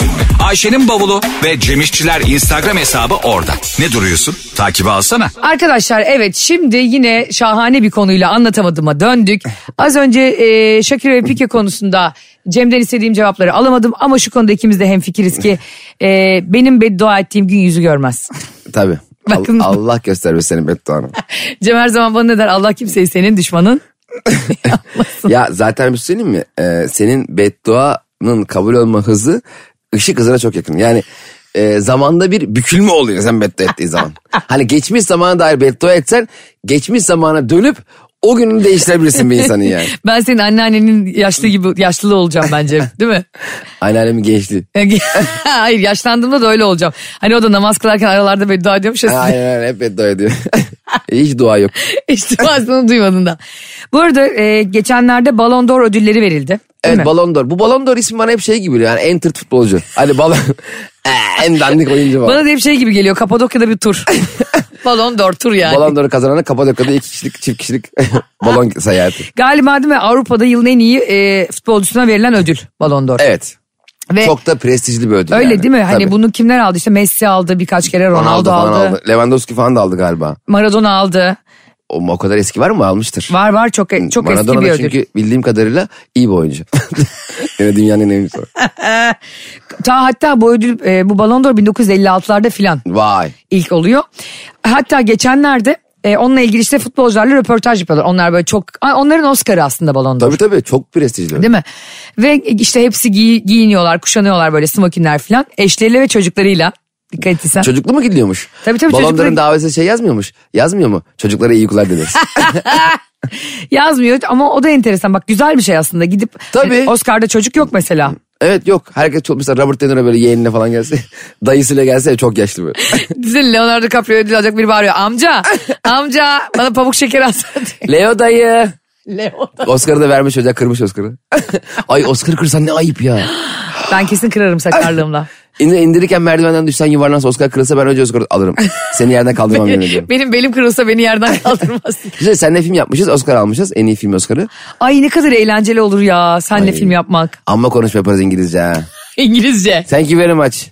A: Ayşe'nin bavulu ve Cemişçiler Instagram hesabı orada. Ne duruyorsun? Takibi alsana.
B: Arkadaşlar evet şimdi yine şahane bir konuyla anlatamadığıma döndük. Az önce e, Shakira ve Pique konusunda Cem'den istediğim cevapları alamadım. Ama şu konuda ikimiz de hemfikiriz ki e, benim beddua ettiğim gün yüzü görmez.
C: Tabii. Al-
B: Bakın.
C: Allah göstermesin senin bedduanı.
B: Cem her zaman bana ne der Allah kimseyi senin düşmanın.
C: Ya zaten bir şey söyleyeyim mi? Ee, senin bedduanın kabul olma hızı ışık hızına çok yakın. Yani e, zamanda bir bükülme oluyor sen beddua ettiğin zaman. hani geçmiş zamana dair beddua etsen geçmiş zamana dönüp o gününü değiştirebilirsin bir insanın yani.
B: Ben senin anneannenin yaşlı gibi yaşlılı olacağım bence değil mi?
C: Anneannemin gençliği.
B: Hayır yaşlandığımda da öyle olacağım. Hani o da namaz kılarken aralarda beddua ediyormuş ya size.
C: Aynen aynen hep beddua ediyor. Hiç dua yok.
B: İşte aslında duymadın da. Bu arada e, geçenlerde Ballon d'Or ödülleri verildi. değil mi?
C: Evet Ballon d'Or. Bu Ballon d'Or ismi bana hep şey gibi geliyor. Yani en tırt futbolcu. Hani balon... Ee, en dandik oyuncu var.
B: Bana da hep şey gibi geliyor Kapadokya'da bir tur. Balon d'Or tur yani.
C: Ballon d'Or'u kazanana Kapadokya'da iki kişilik çift kişilik balon seyahati.
B: Galiba değil mi Avrupa'da yılın en iyi e, futbolcusuna verilen ödül Balon d'Or.
C: Evet.
B: Ve
C: Çok da prestijli bir ödül
B: E, öyle
C: yani.
B: değil mi? Hani
C: Tabii.
B: bunu kimler aldı? İşte Messi aldı birkaç kere Ronaldo,
C: falan
B: aldı.
C: Lewandowski falan da aldı galiba.
B: Maradona aldı.
C: O, o kadar eski var mı? Almıştır.
B: Var var çok e, çok
C: Maradona
B: eski bir
C: da
B: ödül.
C: çünkü bildiğim kadarıyla iyi bir oyuncu. yani dünyanın en iyi oyuncusu.
B: Ta hatta bu ödül e, bu Balon d'Or 1956'larda filan
C: Vay.
B: ilk oluyor. Hatta geçenlerde e, onunla ilgili işte futbolcularla röportaj yapıyorlar. Onlar böyle çok Ay, onların Oscar'ı aslında Balon d'Or.
C: Tabii tabii çok prestijli.
B: Değil mi? Ve işte hepsi giy- giyiniyorlar, kuşanıyorlar böyle smokinler falan. Eşleriyle ve çocuklarıyla. Dikkat etsen.
C: Çocuklu mu gidiyormuş?
B: Tabii, tabii,
C: Balonların
B: çocuklu-
C: davetiyesi şey yazmıyormuş. Yazmıyor mu? Çocuklara iyi uykular dileriz.
B: Yazmıyor ama o da enteresan. Bak güzel bir şey aslında. Gidip
C: Tabii.
B: Hani Oscar'da çocuk yok mesela.
C: evet yok. Herkes çok mesela Robert De Niro böyle yeğenine falan gelse. Dayısıyla gelse ya, çok yaşlı böyle.
B: Dizin Leonardo DiCaprio ödül alacak biri bağırıyor. Amca, amca bana pamuk şeker alsana diye.
C: Leo dayı.
B: Leo.
C: Oscar'ı da vermiş hoca kırmış Oscar'ı. Ay Oscar'ı kırsan ne ayıp ya.
B: Ben kesin kırarım sakarlığımla.
C: İndir, indirirken merdivenden düşsen yuvarlansa Oscar kırılsa ben önce Oscar alırım. Seni yerden kaldırmam yemin ediyorum.
B: Benim belim kırılsa beni yerden kaldırmaz.
C: Güzel senle film yapmışız Oscar almışız en iyi film Oscar'ı.
B: Ay ne kadar eğlenceli olur ya senle
C: Ay.
B: film yapmak.
C: Amma konuşma yaparız İngilizce ha.
B: İngilizce.
C: Thank you very much.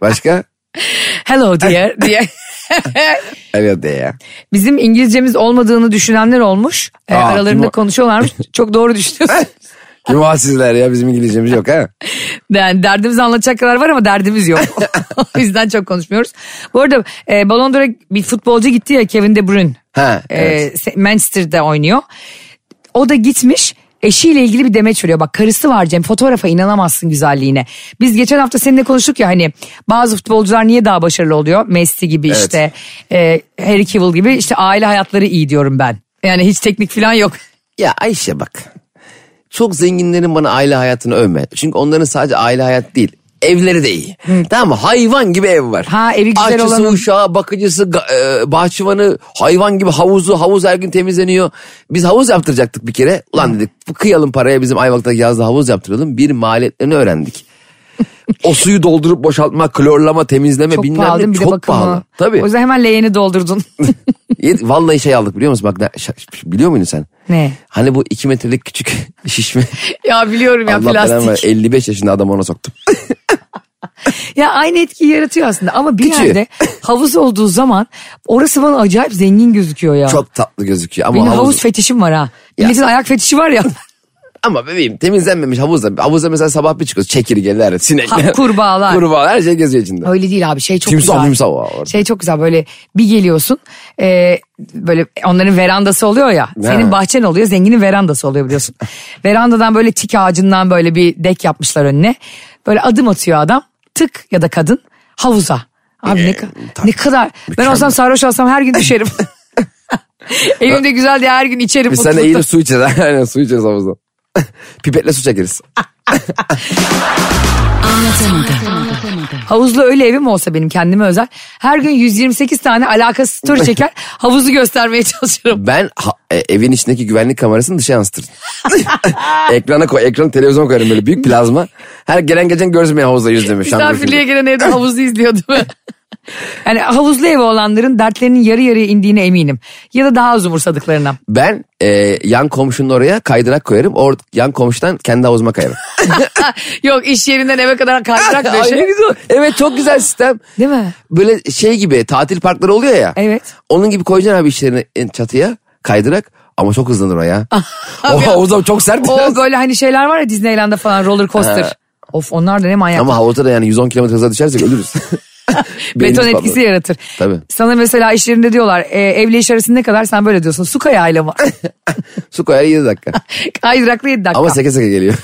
C: Başka?
B: Hello dear diye.
C: Evet de ya.
B: Bizim İngilizcemiz olmadığını düşünenler olmuş. E,
C: Aa, kim
B: aralarında
C: o?
B: konuşuyorlarmış. Çok doğru düşünüyorsun.
C: Kim o sizler ya bizim İngilizcemiz yok ha.
B: Yani derdimizi anlatacak kadar var ama derdimiz yok. o yüzden çok konuşmuyoruz. Bu arada e, Ballon d'Or'a bir futbolcu gitti ya Kevin De Bruyne.
C: Ha, evet.
B: E, Se- Manchester'da oynuyor. O da gitmiş Eşiyle ilgili bir demeç veriyor. Bak karısı var Cem fotoğrafa inanamazsın güzelliğine. Biz geçen hafta seninle konuştuk ya hani bazı futbolcular niye daha başarılı oluyor? Messi gibi
C: Evet.
B: işte e, Harry Cavill gibi işte aile hayatları iyi diyorum ben. Yani hiç teknik falan yok.
C: Ya Ayşe bak. Çok zenginlerin bana aile hayatını övme. Çünkü onların sadece aile hayat değil. Evleri de iyi. Tamam mı? Hayvan gibi ev var.
B: Ha, evi güzel
C: Aşçısı,
B: olanın-
C: uşağı, bakıcısı, ga- e, bahçıvanı, hayvan gibi havuzu, havuz her gün temizleniyor. Biz havuz yaptıracaktık bir kere. Ulan dedik bu kıyalım paraya bizim Ayvalık'taki yazda havuz yaptıralım. Bir maliyetlerini öğrendik. o suyu doldurup boşaltma, klorlama, temizleme
B: Çok
C: bilmem
B: pahalı değil
C: ne
B: mi? bir de
C: E, çok
B: bakımı.
C: pahalı. Tabii.
B: O yüzden hemen leğeni doldurdun.
C: Yet- Vallahi şey aldık biliyor musun? Bak ne- şa- biliyor muydun sen?
B: Ne?
C: Hani bu iki metrelik küçük şişme.
B: ya biliyorum ya
C: Allah belanı ver,
B: plastik.
C: 55 yaşında adam ona soktu.
B: Ya aynı etkiyi yaratıyor aslında ama bir
C: Küçüğü.
B: yerde havuz olduğu zaman orası bana acayip zengin gözüküyor ya.
C: Çok tatlı gözüküyor ama
B: Benim Ah. havuz,
C: havuz,
B: fetişim var ha.
C: Ya.
B: Milletin ayak fetişi var ya.
C: ama bebeğim temizlenmemiş havuzda. Havuzda mesela sabah bir çıkıyoruz. Çekirgeler, sinekler.
B: Ha, kurbağalar.
C: Kurbağalar her şey geziyor içinde.
B: Öyle değil abi şey çok
C: Timsah,
B: güzel.
C: mimsah var orada.
B: Şey çok güzel böyle bir geliyorsun e, böyle onların verandası oluyor ya. Senin bahçen oluyor zenginin verandası oluyor biliyorsun. Verandadan böyle tik ağacından böyle bir dek yapmışlar önüne. Böyle adım atıyor adam tık ya da kadın havuza. Abi ne, ka-
C: tabii.
B: ne kadar ben olsam
C: Mükemmel.
B: sarhoş olsam her gün düşerim. Evimde güzel diye her gün içerim.
C: Biz sen
B: mutlulukla.
C: eğilip su içeriz. Aynen su içeriz havuzdan. Pipetle su çekeriz.
B: Havuzlu öyle evim olsa benim kendime özel. Her gün 128 tane alakasız story çeker havuzu göstermeye çalışırım.
C: Ben ha- e, evin içindeki güvenlik kamerasını dışa yansıtırım. Ekrana koy, ekranı televizyona koyarım böyle büyük plazma. Her gelen geçen görsün beni havuzda yüzlemiş.
B: Misafirliğe gelen evde havuzu izliyordu. yani havuzlu evi olanların dertlerinin yarı yarıya indiğine eminim. Ya da daha az umursadıklarına.
C: Ben e, yan komşunun oraya kaydırak koyarım. Or yan komşudan kendi havuzuma kayarım.
B: Yok iş yerinden eve kadar kaydırak
C: Ay, ne
B: döşe.
C: güzel. Evet çok güzel sistem.
B: şey. Değil mi?
C: Böyle şey gibi tatil parkları oluyor ya.
B: Evet.
C: Onun gibi koyacaksın abi işlerini en çatıya kaydırak. Ama çok hızlanır o ya. o havuzda çok sert.
B: O böyle hani şeyler var ya Disneyland'da falan roller coaster. Of onlar da ne manyak.
C: Ama havuzda da yani 110 kilometre hıza düşersek ölürüz. Beynimiz
B: Beton
C: patlar.
B: etkisi yaratır.
C: Tabii.
B: Sana mesela işlerinde diyorlar e, evle iş arası ne kadar sen böyle diyorsun. Su kayağıyla mı?
C: Su koyar 7 dakika.
B: Kaydıraklı 7 dakika.
C: Ama seke seke geliyor.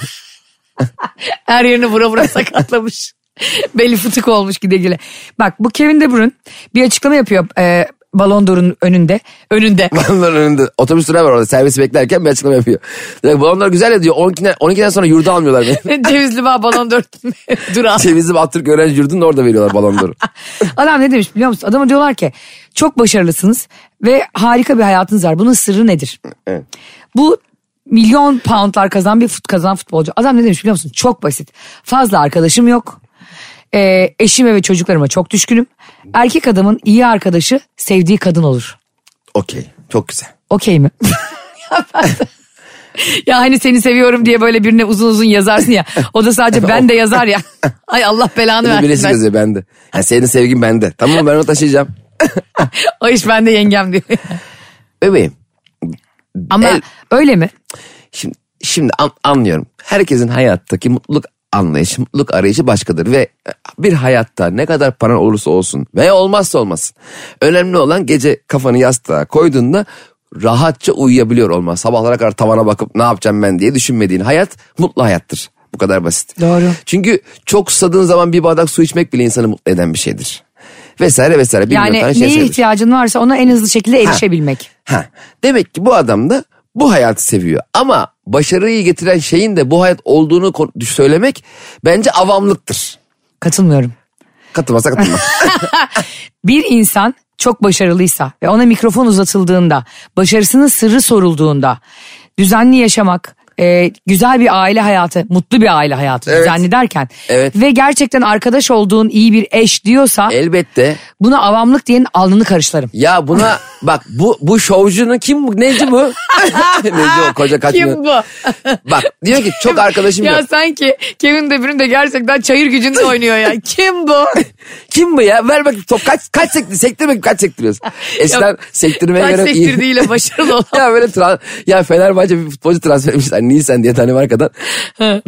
B: Her yerini vura vura sakatlamış. Beli fıtık olmuş gide gide. Bak bu Kevin De Bruyne bir açıklama yapıyor e, Ballon d'Or'un önünde. Önünde.
C: Onların önünde otobüs durağı var orada servisi beklerken bir açıklama yapıyor. Diyor, ki, bu onlar güzel ya diyor 12'den, 12'den sonra yurda almıyorlar beni.
B: Cevizli Bağ Ballon d'Or durağı.
C: Cevizli Atatürk öğrenci yurdunda orada veriyorlar balonları.
B: Adam ne demiş biliyor musun? Adama diyorlar ki çok başarılısınız ve harika bir hayatınız var. Bunun sırrı nedir? Bu milyon poundlar kazan bir fut kazan futbolcu. Adam ne demiş biliyor musun? Çok basit. Fazla arkadaşım yok. Ee, eşime ve çocuklarıma çok düşkünüm. Erkek adamın iyi arkadaşı sevdiği kadın olur.
C: Okey çok güzel.
B: Okey mi? Ya ben de- ya hani seni seviyorum diye böyle birine uzun uzun yazarsın ya. O da sadece ben de yazar ya. Ay Allah belanı
C: Bir de
B: versin.
C: birisi
B: Ben-
C: yazıyor bende. Yani senin sevgin bende. Tamam mı ben onu taşıyacağım.
B: o iş bende yengem diyor.
C: Bebeğim
B: Ama
C: El-
B: öyle mi?
C: şimdi, şimdi an- anlıyorum. Herkesin hayattaki mutluluk anlayışı, mutluluk arayışı başkadır. Ve bir hayatta ne kadar paran olursa olsun veya olmazsa olmasın. Önemli olan gece kafanı yastığa koyduğunda rahatça uyuyabiliyor olman. Sabahlara kadar tavana bakıp ne yapacağım ben diye düşünmediğin hayat mutlu hayattır. Bu kadar basit.
B: Doğru.
C: Çünkü çok susadığın zaman bir bardak su içmek bile insanı mutlu eden bir şeydir. Vesaire vesaire. bir milyon
B: Yani
C: tane
B: neye
C: şey sayabilirim.
B: ihtiyacın varsa ona en hızlı şekilde erişebilmek.
C: Ha, demek ki bu adam da bu hayatı seviyor. Ama başarıyı getiren şeyin de bu hayat olduğunu kon- söylemek bence avamlıktır.
B: Katılmıyorum.
C: Katılmasa katılmaz.
B: Bir insan çok başarılıysa ve ona mikrofon uzatıldığında, başarısının sırrı sorulduğunda, düzenli yaşamak, e, güzel bir aile hayatı, mutlu bir aile hayatı
C: Evet.
B: düzenli derken
C: Evet.
B: ve gerçekten arkadaş olduğun iyi bir eş diyorsa
C: Elbette.
B: buna avamlık diyenin alnını karışlarım.
C: Ya buna bak bu bu şovcunun kim bu? Neci bu? Neci o koca kaç milyon- Bak diyor ki çok arkadaşım yok.
B: sanki Kevin De Bruyne de gerçekten çayır gücünde oynuyor ya. Kim bu?
C: Kim bu ya? Ver bakayım top kaç kaç sektir sektir bakayım kaç sektiriyorsun. Eskiden sektirmeye göre iyi.
B: başarılı olan.
C: ya böyle tra- ya Fenerbahçe bir futbolcu transfer etmişler. Nisan diye Danimarka'dan.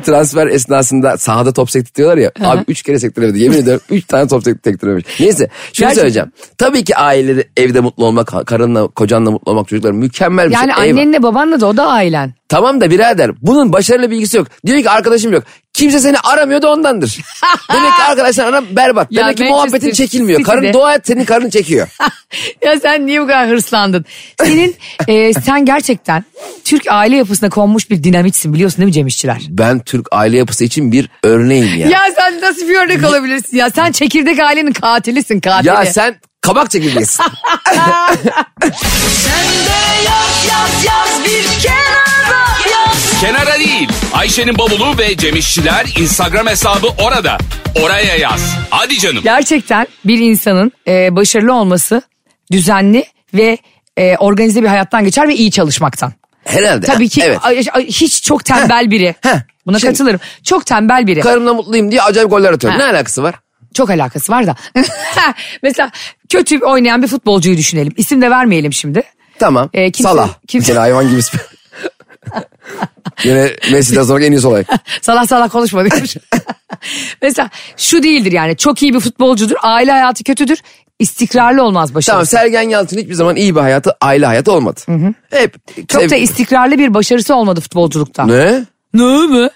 C: transfer esnasında sahada top sektiriyorlar ya. Abi üç kere sektiremedi. Yemin ediyorum üç tane top sekt- sektirememiş. Neyse şunu
B: Gerçi-
C: söyleyeceğim. Tabii ki aileleri evde mutlu olmak, karınla, kocanla mutlu olmak, çocuklar mükemmel bir
B: Yani
C: şey. Eyvah.
B: annenle babanla da o da ailen.
C: Tamam da birader bunun başarılı bilgisi yok. Diyor ki arkadaşım yok. Kimse seni aramıyor da ondandır. Demek ki arkadaşlar aram berbat.
B: Ya
C: Demek ki
B: Manchester
C: muhabbetin çekilmiyor. Karın
B: City'de-
C: dua et senin karın çekiyor.
B: ya sen niye bu kadar hırslandın? Senin e, sen gerçekten Türk aile yapısına konmuş bir dinamitsin biliyorsun değil mi Cem İşçiler?
C: Ben Türk aile yapısı için bir örneğim ya.
B: Ya sen nasıl bir örnek olabilirsin ya? Sen çekirdek ailenin katilisin katili.
C: Ya sen kabak çekirdeğisin.
D: Kenara değil. Ayşe'nin bavulu ve Cemişçiler Instagram hesabı orada. Oraya yaz. Hadi canım.
B: Gerçekten bir insanın e, başarılı olması düzenli ve e, organize bir hayattan geçer ve iyi çalışmaktan.
C: Herhalde.
B: Tabii
C: Ha,
B: ki
C: Evet.
B: ay- ay- hiç çok tembel biri.
C: heh.
B: Buna
C: Şimdi-
B: katılırım. Çok tembel biri.
C: Karımla mutluyum diye acayip goller atıyorum. Ne alakası var?
B: Çok alakası var da. Mesela kötü oynayan bir futbolcuyu düşünelim. İsim de vermeyelim şimdi.
C: Tamam.
B: Ee, kimse-
C: Salah.
B: kimse-
C: Yine hayvan gibi. Yine Messi'den sonra en iyi olay.
B: Salak salak konuşma demiş. Mesela şu değildir yani çok iyi bir futbolcudur. Aile hayatı kötüdür. istikrarlı olmaz
C: Tamam
B: başarısı.
C: Sergen Yalçın hiçbir zaman iyi bir hayatı, aile hayatı olmadı. Hep
B: çok
C: sev-
B: da istikrarlı bir başarısı olmadı futbolculukta.
C: Ne?
B: Ne mi?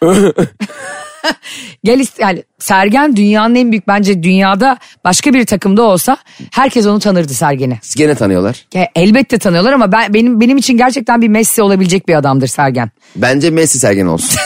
B: Gel ist- yani Sergen dünyanın en büyük bence dünyada başka bir takımda olsa herkes onu tanırdı Sergen'i.
C: Gene tanıyorlar.
B: Ya elbette tanıyorlar ama ben benim benim için gerçekten bir Messi olabilecek bir adamdır Sergen.
C: Bence Messi Sergen olsun.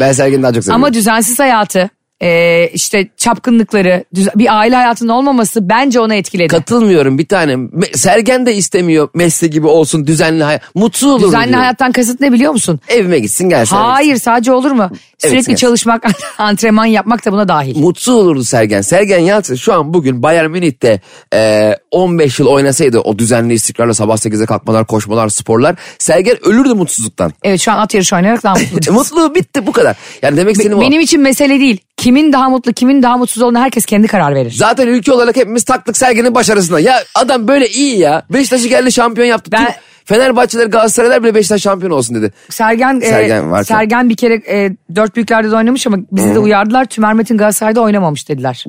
C: ben Sergen'i daha çok seviyorum.
B: Ama düzensiz hayatı, e, işte çapkınlıkları, düz- bir aile hayatının olmaması bence ona etkiledi.
C: Katılmıyorum bir tanem. Me- Sergen de istemiyor Messi gibi olsun düzenli hayat. Mutsuz olur
B: Düzenli
C: diyor.
B: hayattan kasıt ne biliyor musun?
C: Evime gitsin gelsin.
B: Hayır sadece olur mu? Sürekli
C: evet.
B: çalışmak, antrenman yapmak da buna dahil.
C: mutsuz olurdu Sergen. Sergen Yalçın şu an bugün Bayern Münih'te e, 15 yıl oynasaydı o düzenli istikrarla sabah 8'e kalkmalar, koşmalar, sporlar. Sergen ölürdü mutsuzluktan.
B: Evet şu an at yarışı oynayarak daha mutlu.
C: E, Mutluluğu bitti bu kadar. Yani demek istediğim o.
B: Benim için mesele değil. Kimin daha mutlu, kimin daha mutsuz olduğuna herkes kendi karar verir.
C: Zaten ülke olarak hepimiz taktık Sergen'in başarısına. Ya adam böyle iyi ya. Beşiktaş'ı geldi şampiyon yaptı.
B: Ben-
C: Tüm Fenerbahçeler, Galatasaraylar bile Beşiktaş şampiyon olsun dedi.
B: Sergen e,
C: Sergen varken.
B: Sergen bir kere e, dört büyüklerde de oynamış ama bizi de uyardılar. Tümermet'in Galatasaray'da oynamamış dediler.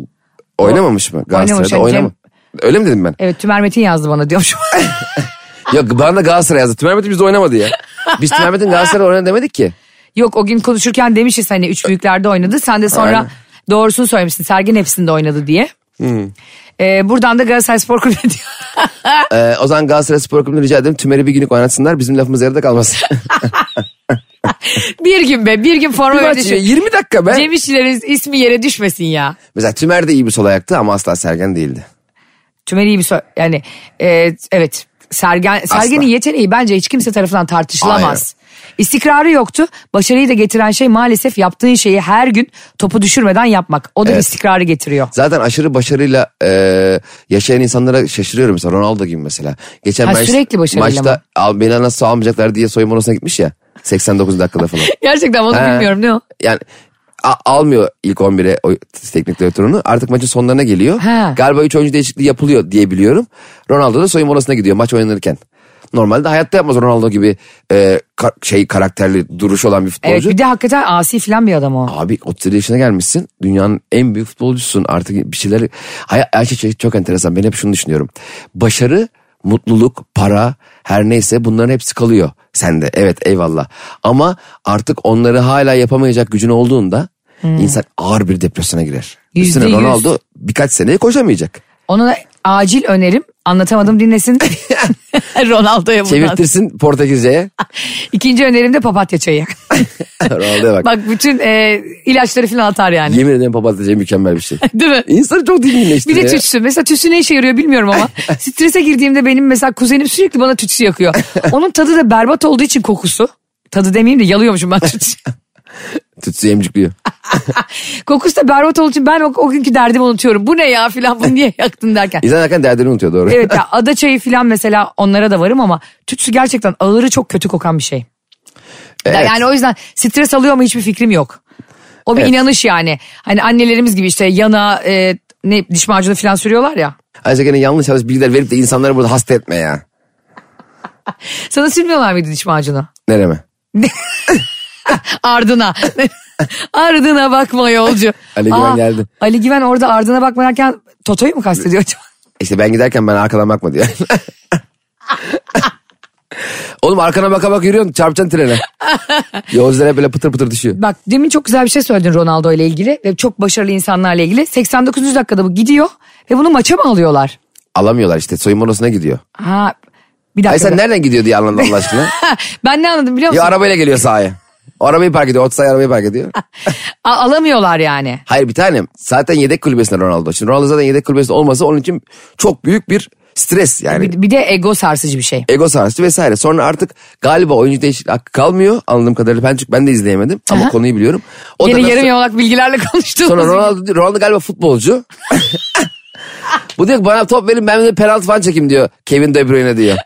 C: Oynamamış mı?
B: Oynamış,
C: Galatasaray'da
B: yani
C: oynama. Öyle mi dedim ben?
B: Evet Tümermet'in yazdı bana diyormuş.
C: Yok bana da Galatasaray yazdı. Tümermet'in bizde oynamadı ya. Biz Tümermet'in Galatasaray'da oynadı demedik ki.
B: Yok o gün konuşurken demişiz hani üç büyüklerde oynadı. Sen de sonra
C: Aynen.
B: doğrusunu söylemişsin. Sergen hepsinde oynadı diye. E, buradan da Galatasaray Spor Kulübü diyor.
C: Ee, o zaman Galatasaray Spor Kulübü'nü rica ederim. Tümer'i bir günlük oynatsınlar. Bizim lafımız yarıda kalmasın.
B: bir gün be bir gün forma
C: Bir
B: ver
C: maç
B: düşün.
C: 20 dakika be.
B: Cem İşçilerin ismi yere düşmesin ya.
C: Mesela Tümer de iyi bir sol ayaktı ama asla Sergen değildi.
B: Tümer iyi bir so- yani e, evet Sergen Sergen'in yeteneği bence hiç kimse tarafından tartışılamaz. İstikrarı yoktu. Başarıyı da getiren şey maalesef yaptığın şeyi her gün topu düşürmeden yapmak. O da
C: Evet.
B: istikrarı getiriyor.
C: Zaten aşırı başarıyla e, yaşayan insanlara şaşırıyorum mesela Ronaldo gibi mesela. Geçen
B: Ha, sürekli başarıyla mı?
C: maçta al, beni nasıl almayacaklar diye soyunma odasına gitmiş ya 89 dakikada falan.
B: Gerçekten onu
C: He.
B: bilmiyorum ne o?
C: Yani a- almıyor ilk 11'e o teknik direktörünü. Artık maçın sonlarına geliyor.
B: He.
C: Galiba 3 oyuncu değişikliği yapılıyor diye biliyorum. Ronaldo da soyunma odasına gidiyor maç oynanırken. Normalde hayatta yapmaz Ronaldo gibi e, ka- şey karakterli duruş olan bir futbolcu.
B: Evet bir de hakikaten asi filan bir adam o.
C: Abi 37 yaşına gelmişsin. Dünyanın en büyük futbolcusun. Artık bir şeyler... Hay her şey- şey çok enteresan. Ben hep şunu düşünüyorum. Başarı, mutluluk, para her neyse bunların hepsi kalıyor sende. Evet eyvallah. Ama artık onları hala yapamayacak gücün olduğunda insan ağır bir depresyona girer.
B: Hmm. Yüzde
C: Üstüne
B: yüz.
C: Ronaldo birkaç seneye koşamayacak.
B: Ona da acil önerim anlatamadım dinlesin. Ronaldo'ya buradan.
C: Çevirtirsin Portekizce'ye.
B: İkinci önerim de papatya çayı.
C: Ronaldo'ya bak.
B: Bak bütün e, ilaçları filan atar yani.
C: Yemin ederim papatya mükemmel bir şey.
B: Değil mi?
C: İnsanı çok
B: Bir
C: dinginleştiriyor.
B: de
C: ya.
B: tütsü. Mesela tütsü ne işe yarıyor bilmiyorum ama strese girdiğimde benim mesela kuzenim sürekli bana tütsü yakıyor. Onun tadı da berbat olduğu için kokusu. Tadı demeyeyim de yalıyormuşum ben tütsü.
C: Tütsü emcikliyor.
B: kokusu da berbat olduğu için ben o, o günkü derdimi unutuyorum. Bu ne ya filan bunu niye yaktın derken.
C: İnsan hakikaten derdini unutuyor doğru.
B: Evet ya ada çayı filan mesela onlara da varım ama tütsü gerçekten ağırı çok kötü kokan bir şey.
C: Evet.
B: Yani o yüzden stres alıyor mu hiçbir fikrim yok. O bir
C: Evet.
B: inanış yani. Hani annelerimiz gibi işte yana e, ne diş macunu filan sürüyorlar ya.
C: Ayrıca gene yanlış yanlış bilgiler verip de insanları burada hasta etme ya.
B: Sana sürmüyorlar mıydı diş macunu?
C: Nereme?
B: Ardına. ardına bakma yolcu.
C: Ali Güven geldi.
B: Ali Güven orada ardına bakma derken Toto'yu mu
C: E
B: kastediyor acaba?
C: İşte ben giderken ben arkadan bakma diyor. Oğlum arkana baka bak yürüyorsun çarpacaksın trene. Yolcular hep böyle pıtır pıtır düşüyor.
B: Bak demin çok güzel bir şey söyledin Ronaldo ile ilgili ve çok başarılı insanlarla ilgili. 89. dakikada bu gidiyor ve bunu maça mı alıyorlar?
C: Alamıyorlar işte soyunma odasına gidiyor.
B: Ha bir dakika.
C: Ay sen
B: ben-
C: nereden gidiyor diye anladın Allah aşkına.
B: ben ne anladım biliyor
C: ya
B: musun?
C: arabayla geliyor sahaya. O arabayı park ediyor. Otsay arabayı park ediyor.
B: A- alamıyorlar yani.
C: Hayır bir tanem. Zaten yedek kulübesinde Ronaldo. Şimdi Ronaldo zaten yedek kulübesinde olmasa onun için çok büyük bir stres yani.
B: E Bir, bir de ego sarsıcı bir şey.
C: Ego sarsıcı vesaire. Sonra artık galiba oyuncu değişiklik hakkı kalmıyor. Anladığım kadarıyla ben çünkü ben de izleyemedim. Ama
B: Aha.
C: konuyu biliyorum. O
B: Yine
C: nasıl-
B: yarım yamalak bilgilerle konuştuğumuz.
C: Sonra
B: gibi.
C: Ronaldo, Ronaldo galiba futbolcu. Bu diyor ki bana top verin ben de penaltı falan çekeyim diyor. Kevin De Bruyne diyor.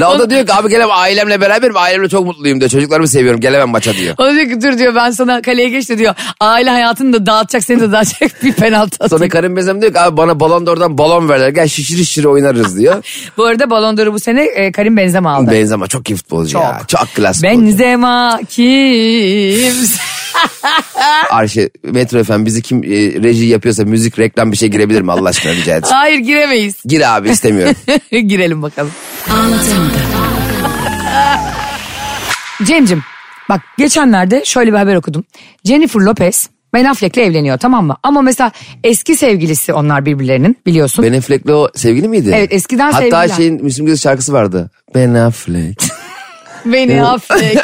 C: Ronaldo da diyor ki abi gelemem ailemle beraberim ailemle çok mutluyum diyor. Çocuklarımı seviyorum gelemem maça diyor.
B: O diyor ki dur diyor ben sana kaleye geç de diyor. Aile hayatını da dağıtacak seni de dağıtacak bir penaltı atayım.
C: Sonra Karim Benzem diyor ki abi bana balon oradan balon verler. Gel şişir şişir oynarız diyor.
B: Bu arada Ballon d'Or'u bu sene e, Karim Benzema aldı.
C: Benzema çok iyi futbolcu ya. Çok klas futbolcu.
B: Benzema kimse.
C: Arşe, Metro FM bizi kim e, reji yapıyorsa müzik reklam bir şey girebilir mi Allah aşkına rica edeceğim.
B: Hayır giremeyiz.
C: Gir abi istemiyorum.
B: Girelim bakalım. Cem'cim bak geçenlerde şöyle bir haber okudum. Jennifer Lopez Ben Affleck'le evleniyor tamam mı? Ama mesela eski sevgilisi onlar birbirlerinin biliyorsun.
C: Ben Affleck'le o sevgili miydi?
B: Evet, eskiden
C: Hatta
B: sevgililer.
C: şeyin Müslüm Gürses şarkısı vardı. Ben Affleck.
B: Beni Affleck.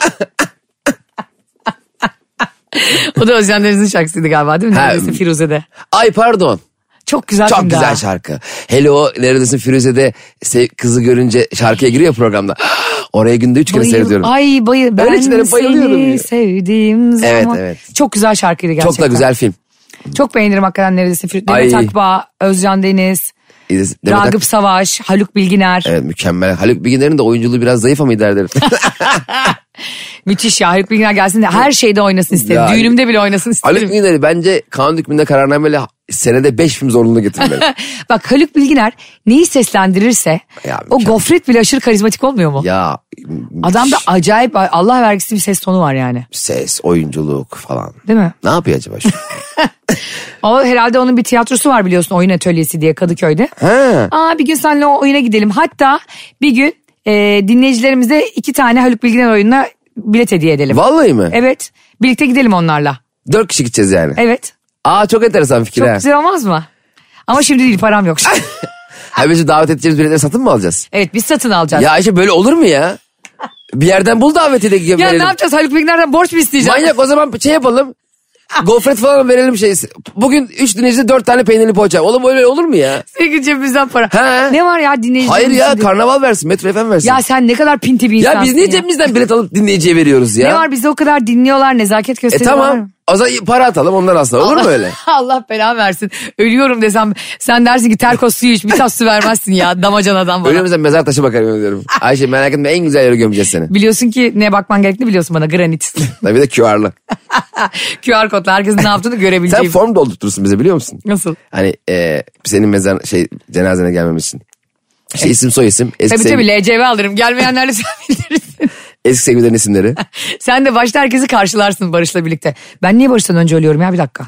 B: o da Özcan Deniz'in şarkısıydı galiba değil mi?
C: Ha,
B: Neredesin Firuze'de.
C: Ay pardon.
B: Çok güzel
C: Çok
B: filmdi
C: güzel
B: ha.
C: şarkı. Hele o neredesin Firuze'de se- kızı görünce şarkıya giriyor programda. Oraya günde üç kere
B: Bayıl-
C: seyrediyorum.
B: Ay bayıl. Ben
C: Öyle şeylere bayılıyorum
B: seni
C: ya.
B: sevdiğim zaman.
C: Evet, evet.
B: Çok güzel şarkıydı gerçekten.
C: Çok da güzel film.
B: Çok beğenirim hakikaten neredeyse. Fir- Demet
C: Ay.
B: Akbağ, Özcan Deniz,
C: İz- Demet Ak-
B: Ragıp Savaş, Haluk Bilginer.
C: Evet mükemmel. Haluk Bilginer'in de oyunculuğu biraz zayıf ama idare ederim.
B: Müthiş ya Haluk Bilginer gelsin de her şeyde oynasın isterim.
C: Ya.
B: Düğünümde bile oynasın
C: Haluk
B: isterim.
C: Bilginer'i bence kanun hükmünde kararnameyle senede 5 film zorunlu getirmeli.
B: Bak Haluk Bilginer neyi seslendirirse
C: Ya,
B: o
C: mükemmel.
B: gofret bile aşırı karizmatik olmuyor mu?
C: ya
B: Adamda acayip Allah vergisi bir ses tonu var yani.
C: ses, oyunculuk falan.
B: Değil mi?
C: Ne yapıyor acaba şu?
B: O herhalde onun bir tiyatrosu var biliyorsun oyun atölyesi diye Kadıköy'de.
C: He.
B: Aa bir gün seninle o oyuna gidelim. Hatta bir gün e, dinleyicilerimize iki tane Haluk Bilginer oyununa bilet hediye edelim.
C: Vallahi mi?
B: Evet. Birlikte gidelim onlarla.
C: Dört kişi gideceğiz yani.
B: Evet.
C: Aa çok enteresan fikir
B: Çok
C: ha.
B: güzel olmaz mı? Ama şimdi değil param yok.
C: Ah! Ha biz davet edeceğimiz biletleri satın mı alacağız?
B: evet biz satın alacağız.
C: Ya
B: Ya,
C: Ayşe böyle olur mu ya? Bir yerden bul daveti de ya
B: ne yapacağız Haluk Bilginer'den borç mu isteyeceğiz?
C: Manyak o zaman şey yapalım. Gofret falan verelim şey. Bugün üç dinleyicide dört tane peynirli poğaça. Oğlum öyle olur mu ya?
B: Sürekli cebimizden para.
C: He.
B: Ne var ya dinleyicilerimiz?
C: Hayır ya
B: şimdi-
C: karnaval versin. Metro FM versin.
B: Ya
C: Ya,
B: sen ne kadar pinti bir insansın
C: biz niye cebimizden bilet alıp dinleyiciye veriyoruz ya?
B: Ne var bizi o kadar dinliyorlar nezaket
C: E
B: gösteriyorlar.
C: tamam. O zaman para atalım ondan aslında. Olur mu öyle?
B: Allah belanı versin. Ölüyorum desem sen dersin ki terkos suyu iç bir tas su vermezsin ya damacanadan bana.
C: Öyle mesela mezar taşı bakarım diyorum. Ayşe merak etme en güzel yere gömeceğiz seni.
B: Biliyorsun ki ne bakman gerektiğini biliyorsun bana granit.
C: Tabii de QR'lı.
B: QR kodla herkesin ne yaptığını
C: Sen
B: görebileceğim.
C: form doldurtursun bize biliyor musun?
B: Nasıl?
C: Hani e, senin mezar şey cenazene gelmemiz için. İşte isim soy isim. Eski,
B: Tabii
C: sevgi-
B: tabii LCV alırım. Gelmeyenlerle sen bilirsin.
C: eski sevgililerin isimleri.
B: Sen de başta herkesi karşılarsın Barış'la birlikte. Ben niye Barış'tan önce ölüyorum ya bir dakika.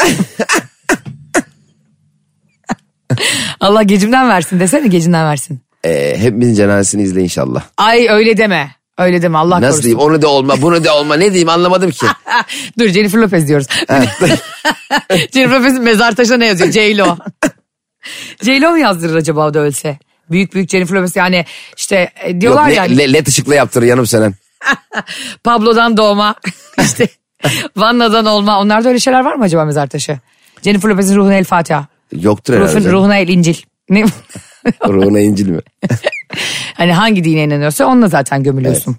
B: Allah gecimden versin desene gecinden versin.
C: E, hepimizin cenazesini izle inşallah.
B: Ay öyle deme. Öyle deme Allah
C: Nasıl
B: korusun.
C: diyeyim onu da olma bunu da olma ne diyeyim anlamadım ki.
B: Ah, Dur Jennifer Lopez diyoruz. Jennifer Lopez'in mezar taşına ne yazıyor? J-Lo. J-Lo mu yazdırır acaba o da ölse? Büyük büyük Jennifer Lopez yani işte e,
C: Yok,
B: diyorlar
C: ne,
B: ya
C: le- led ışıkla yaptır yanım senin.
B: Pablo'dan doğma işte Vanna'dan olma onlarda öyle şeyler var mı acaba mezar taşı? Jennifer Lopez'in ruhuna el Fatiha.
C: Yoktur herhalde.
B: Ruhun,
C: canım.
B: ruhuna el İncil. Ne?
C: Ruhuna incil mi?
B: hani hangi dine inanıyorsa onunla zaten gömülüyorsun.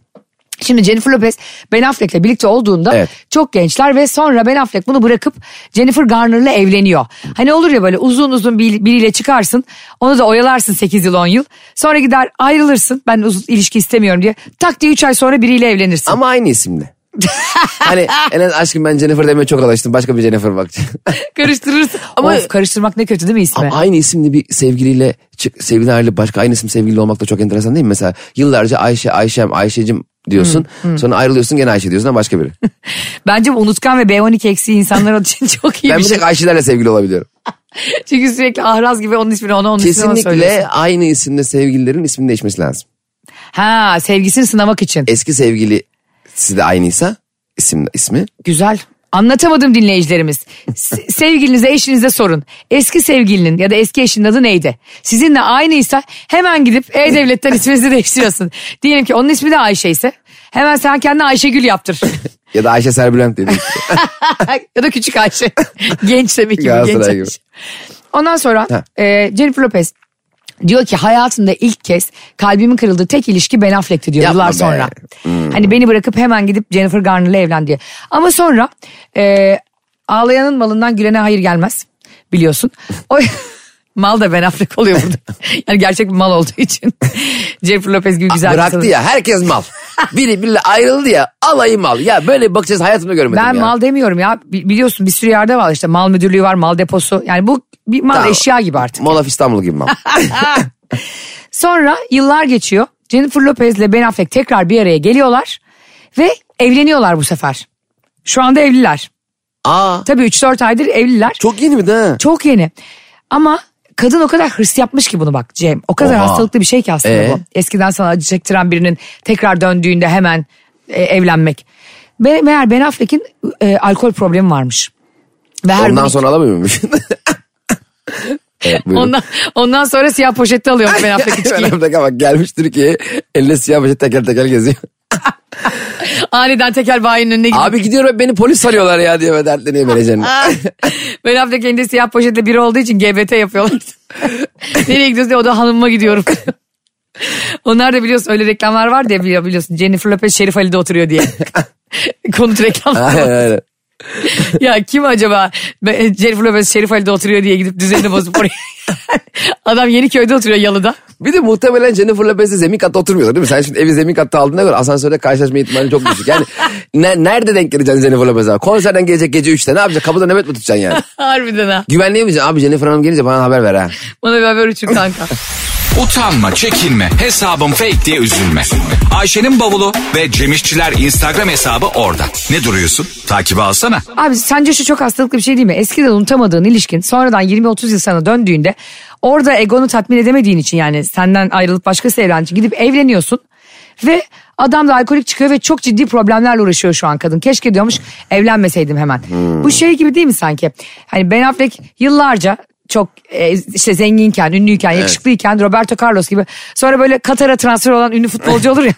B: Şimdi Jennifer Lopez Ben Affleck'le birlikte olduğunda
C: Evet.
B: çok gençler ve sonra Ben Affleck bunu bırakıp Jennifer Garner'la evleniyor. Hani olur ya böyle uzun uzun bir, biriyle çıkarsın onu da oyalarsın 8 yıl 10 yıl sonra gider ayrılırsın ben uzun ilişki istemiyorum diye tak diye 3 ay sonra biriyle evlenirsin.
C: Ama aynı isimle. hani en az aşkım ben Jennifer demeye çok alıştım. Başka bir Jennifer bakacağım.
B: Karıştırırsın ama
C: Ama-
B: of, karıştırmak ne kötü değil mi ismi?
C: Ama aynı isimli bir sevgiliyle çık, sevgiliden ayrılıp başka aynı isim sevgili olmak da çok enteresan değil mi? Mesela yıllarca Ayşe, Ayşem, Ayşecim diyorsun.
B: Hmm,
C: Sonra ayrılıyorsun gene Ayşe diyorsun ama başka biri.
B: Bence bu unutkan ve B12 eksiği insanlar için çok iyi
C: ben
B: bir
C: bir
B: şey.
C: tek Ayşe'lerle sevgili olabiliyorum.
B: Çünkü sürekli ahraz gibi onun ismini ona onun ismini ona şey söylüyorsun.
C: Kesinlikle aynı isimde sevgililerin ismini değişmesi lazım.
B: Ha sevgisini sınamak için.
C: Eski sevgilisi de aynıysa isim, ismi.
B: Güzel. Anlatamadım dinleyicilerimiz. Se- Sevgilinize, eşinize sorun. Eski sevgilinin ya da eski eşinin adı neydi? Sizinle aynıysa hemen gidip E-Devlet'ten isminizi değiştiriyorsun. Diyelim ki onun ismi de Ayşe ise hemen sen kendine Ayşegül yaptır.
C: Ya da Ayşe Serbülent dedi.
B: ya da küçük Ayşe. genç tabii ki. bu, Genç
C: Galatasaray gibi.
B: Ayşe. Ondan sonra
C: Ha.
B: e, Jennifer Lopez diyor ki hayatımda ilk kez kalbimin kırıldığı tek ilişki Ben Affleck'ti diyor
C: Yapma
B: yıllar
C: be. Hmm.
B: sonra. Hani beni bırakıp hemen gidip Jennifer Garner'la evlen diye. Ama sonra e, ağlayanın malından gülene hayır gelmez biliyorsun. O mal da Ben Affleck oluyor burada. yani gerçek bir mal olduğu için. Jennifer Lopez gibi güzel bir
C: Bıraktı
B: kadın.
C: ya herkes mal. Biri biriyle ayrıldı ya alayı mal. Ya böyle bir bakış açısı hayatımda görmedim
B: Ben
C: ya.
B: mal demiyorum ya Bi- biliyorsun bir sürü yerde var işte mal müdürlüğü var mal deposu yani bu bir mal
C: Tamam.
B: eşya gibi artık.
C: Molaf İstanbul gibi mal.
B: Sonra yıllar geçiyor. Jennifer Lopez ile Ben Affleck tekrar bir araya geliyorlar ve evleniyorlar bu sefer. Şu anda evliler.
C: Aa
B: Tabii 3-4 aydır evliler. Çok,
C: çok yeni mi de?
B: yeni. Ama kadın o kadar hırs yapmış ki bunu bak Cem. O kadar
C: Oha.
B: hastalıklı bir şey ki aslında
C: Ee?
B: bu. Eskiden sana acı çektiren birinin tekrar döndüğünde hemen e, evlenmek. Be- meğer Ben Affleck'in e, alkol problemi varmış. Ve her
C: Ondan
B: gün-
C: sonra alamıyor muymuş? evet, buyurun.
B: ondan, ondan sonra siyah poşette alıyor Ben Affleck içkiyi.
C: Önemli dakika bak gelmiş Türkiye'ye elinde siyah poşet teker teker geziyor.
B: Aniden tekel bayinin önüne gidiyor.
C: Abi gidiyorum beni polis arıyorlar ya diye ve dertleniyor menajerin.
B: Ben hafta kendi siyah poşette biri olduğu için GBT yapıyorlar. Nereye gidiyorsun diye o da hanımıma gidiyorum. Onlar da biliyorsun öyle reklamlar var diye biliyor- biliyorsun. Jennifer Lopez Şerif Ali'de oturuyor diye. Konut reklamları.
C: Aynen
B: var.
C: aynen.
B: ya kim acaba Be- Jennifer Lopez Şerif Ali'de oturuyor diye gidip düzenini bozup oraya. Adam Yeniköy'de oturuyor yalıda.
C: Bir de muhtemelen Jennifer Lopez'le zemin katta oturmuyorlar değil mi? Sen şimdi evi zemin katta aldığına göre asansörde karşılaşma ihtimali çok düşük. Yani ne- nerede denk geleceksin Jennifer Lopez'e? Konserden gelecek gece 3'te ne yapacaksın? Kapıda nöbet mi tutacaksın yani?
B: Harbiden ha.
C: Güvenleyemeyeceksin abi Jennifer Hanım gelince bana haber ver ha.
B: Bana bir haber uçur kanka.
A: Utanma, çekinme, hesabım fake diye üzülme. Ayşe'nin bavulu ve Cemişçiler Instagram hesabı orada. Ne duruyorsun? Takibi alsana.
B: Abi sence şu çok hastalıklı bir şey değil mi? Eskiden unutamadığın ilişkin sonradan 20-30 yıl sana döndüğünde orada egonu tatmin edemediğin için yani senden ayrılıp başkası evlendiği için gidip evleniyorsun. Ve adam da alkolik çıkıyor ve çok ciddi problemlerle uğraşıyor şu an kadın. Keşke diyormuş evlenmeseydim hemen. Bu şey gibi değil mi sanki? Hani Ben Affleck yıllarca çok e, işte zenginken, ünlüyken, yakışıklıyken Roberto Carlos gibi. Sonra böyle Katar'a transfer olan ünlü futbolcu olur ya.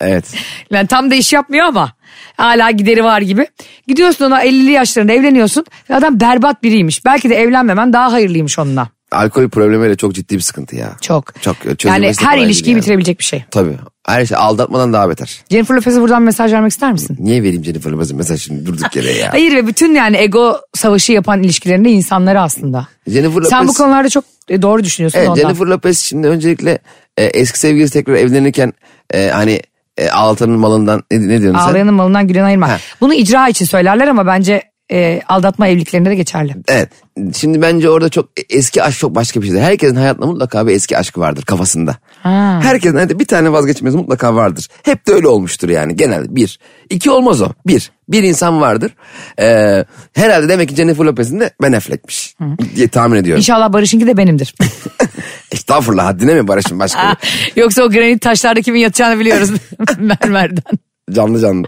C: Evet.
B: Yani tam da iş yapmıyor ama hala gideri var gibi. Gidiyorsun ona 50'li yaşlarında evleniyorsun ve adam berbat biriymiş. Belki de evlenmemen daha hayırlıymış onunla.
C: Alkol problemiyle çok ciddi bir sıkıntı ya.
B: Çok.
C: Çok
B: yani
C: çözülmesi de
B: her
C: kolay
B: ilişkiyi
C: değil yani.
B: bitirebilecek bir şey.
C: Tabii. Her şey aldatmadan daha beter.
B: Jennifer Lopez'e buradan mesaj vermek ister misin?
C: Niye vereyim Jennifer Lopez'in mesajını durduk yere ya?
B: Hayır ve bütün yani ego savaşı yapan ilişkilerinde insanları aslında.
C: Jennifer Lopez...
B: Sen bu konularda çok e, doğru düşünüyorsun
C: Evet,
B: ondan.
C: Jennifer Lopez şimdi öncelikle e, eski sevgilisi tekrar evlenirken e, hani e, altının malından ne, ne diyorsun sen?
B: Ağlayanın malından gülen ayırma.
C: Ha.
B: Bunu icra için söylerler ama bence e, aldatma evliliklerinde de geçerli.
C: Evet. Şimdi bence orada çok e, eski aşk çok başka bir şeydir. Herkesin hayatında mutlaka bir eski aşkı vardır kafasında. Herkesin hayatında bir tane vazgeçilmez mutlaka vardır. Hep de öyle olmuştur yani genel bir. iki olmaz o. Bir. Bir insan vardır. Ee, herhalde demek ki Jennifer Lopez'in de Ben Affleck'miş diye tahmin ediyorum.
B: İnşallah Barış'ınki de benimdir.
C: Estağfurullah haddine mi Barış'ın başka bir-
B: Yoksa o granit taşlarda kimin yatacağını biliyoruz mermerden.
C: Canlı canlı.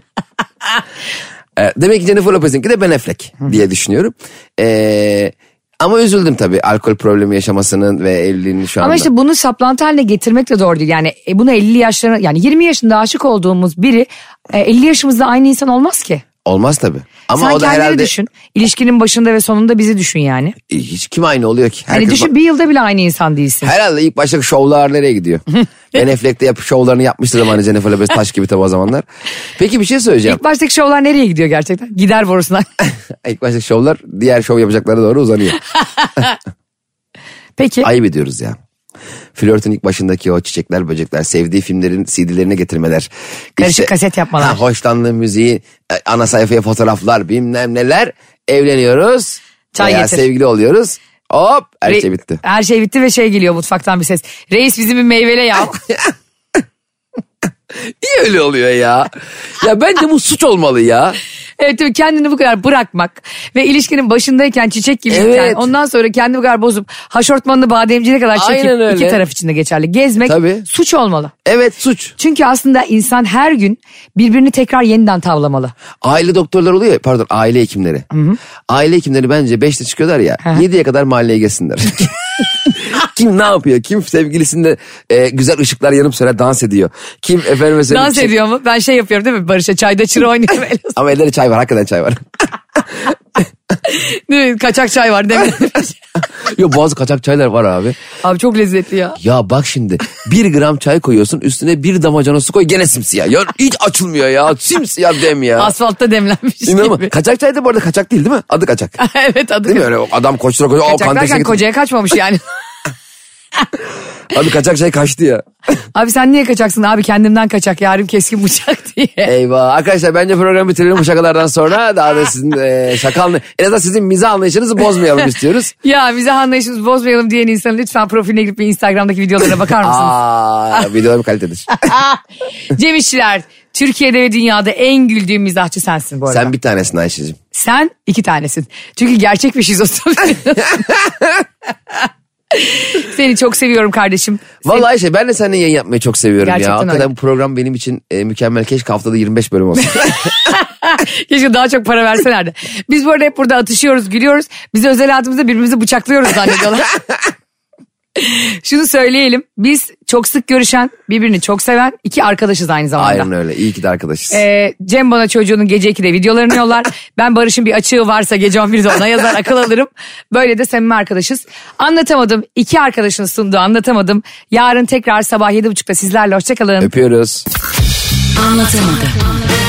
C: Ee, Demek ki Jennifer Lopez'inki de Ben Affleck diye düşünüyorum. Ee, ama üzüldüm tabii alkol problemi yaşamasının ve evliliğinin şu anda.
B: Ama işte bunu saplantı haline getirmek de doğru değil. Yani e, bunu 50 yaşlarına yani 20 yaşında aşık olduğumuz biri e, 50 yaşımızda aynı insan olmaz ki.
C: Olmaz tabii. Ama
B: Sen
C: o da
B: kendini
C: herhalde
B: düşün. İlişkinin başında ve sonunda bizi düşün yani.
C: E, hiç kim aynı oluyor ki?
B: Hani
C: Herkes
B: düşün bir yılda bile aynı insan değilsin.
C: Herhalde ilk baştaki şovlar nereye gidiyor? ben Affleck'te yap şovlarını yapmıştır zamanı Jennifer Lopez taş gibi tabii o zamanlar. Peki bir şey söyleyeceğim.
B: İlk baştaki şovlar nereye gidiyor gerçekten? Gider borusuna.
C: İlk baştaki şovlar diğer şov yapacaklara doğru uzanıyor.
B: Peki
C: Ayıp ediyoruz ya. Flörtün ilk başındaki o çiçekler böcekler sevdiği filmlerin CD'lerine getirmeler.
B: Karışık kaset yapmalar.
C: Ha, hoşlandığı müziği e, ana sayfaya fotoğraflar bilmem neler. Evleniyoruz.
B: Çay
C: veya
B: getir.
C: sevgili oluyoruz. Hop her
B: Re-
C: şey bitti.
B: Her şey bitti ve şey geliyor mutfaktan bir ses. Reis bizi bir meyvele ya.
C: Niye öyle oluyor ya? Ya bence bu suç olmalı ya.
B: Evet tabii kendini bu kadar bırakmak ve ilişkinin başındayken çiçek gibiyken
C: Evet.
B: ondan sonra kendini bu kadar bozup haşortmanını bademciğine kadar çekip
C: Aynen öyle.
B: iki taraf için de geçerli. Gezmek
C: Tabii.
B: suç olmalı.
C: Evet suç.
B: Çünkü aslında insan her gün birbirini tekrar yeniden tavlamalı.
C: Aile doktorları oluyor ya pardon aile hekimleri. Aile hekimleri bence 5'te çıkıyorlar ya
B: Hı hı.
C: 7'ye kadar mahalleye gelsinler. kim ne yapıyor? Kim sevgilisinde e, güzel ışıklar yanıp söyle dans ediyor. Kim efendim mesela...
B: Dans ediyor mu? Ben şey yapıyorum değil mi? Barış'a çayda çıra oynuyorum. Öyle
C: Ama ellerinde çay var hakikaten çay var.
B: değil mi? Kaçak çay var değil mi?
C: Yok bazı kaçak çaylar var abi.
B: Abi çok lezzetli ya.
C: Ya bak şimdi bir gram çay koyuyorsun üstüne bir damacana su koy gene simsiyah. Ya hiç açılmıyor ya simsiyah dem ya.
B: Asfaltta demlenmiş
C: İnanılmaz.
B: gibi.
C: Kaçak çay da bu arada kaçak değil değil mi? Adı kaçak.
B: evet adı.
C: Değil mi öyle o adam koştura koştura. "Aa,
B: Kaçak
C: Kantex'e
B: derken
C: gittim."
B: kocaya kaçmamış yani.
C: Abi kaçak çay kaçtı ya.
B: abi sen niye kaçaksın? Abi kendimden kaçak yarim keskin bıçak diye.
C: Eyvah. Arkadaşlar bence programı bitirelim bu şakalardan sonra. Daha da sizin e, şaka anlay- En azından sizin mizah anlayışınızı bozmayalım istiyoruz.
B: Ya bize anlayışımızı bozmayalım diyen insan lütfen profiline girip bir Instagram'daki videolarına bakar mısınız?
C: Aa, videolarım kalitedir.
B: Cem İşçiler, Türkiye'de ve dünyada en güldüğüm mizahçı sensin bu arada. Sen,
C: Sen bir tanesin Ayşe'cim.
B: iki tanesin. Çünkü gerçek bir şizofren. Seni çok seviyorum kardeşim.
C: Vallahi Ayşe ben de seninle yayın yapmayı çok seviyorum
B: Gerçekten
C: ya. Hakikaten
B: öyle.
C: bu program benim için e, mükemmel. Keşke haftada 25 bölüm olsun.
B: Keşke daha çok para verselerdi. Biz bu arada hep burada atışıyoruz, gülüyoruz. Biz özel hayatımızda birbirimizi bıçaklıyoruz zannediyorlar. Şunu söyleyelim. Biz çok sık görüşen, birbirini çok seven iki arkadaşız aynı zamanda.
C: Aynen öyle. İyi ki de arkadaşız.
B: Ee, Cem bana çocuğunun gece 2'de videolarını yollar. ben Barış'ın bir açığı varsa gece 11'de ona yazar akıl alırım. Böyle de samimi arkadaşız. Anlatamadım. İki arkadaşın sunduğu anlatamadım. Yarın tekrar sabah 7.30'da sizlerle hoşçakalın.
C: Öpüyoruz.
E: Anlatamadım.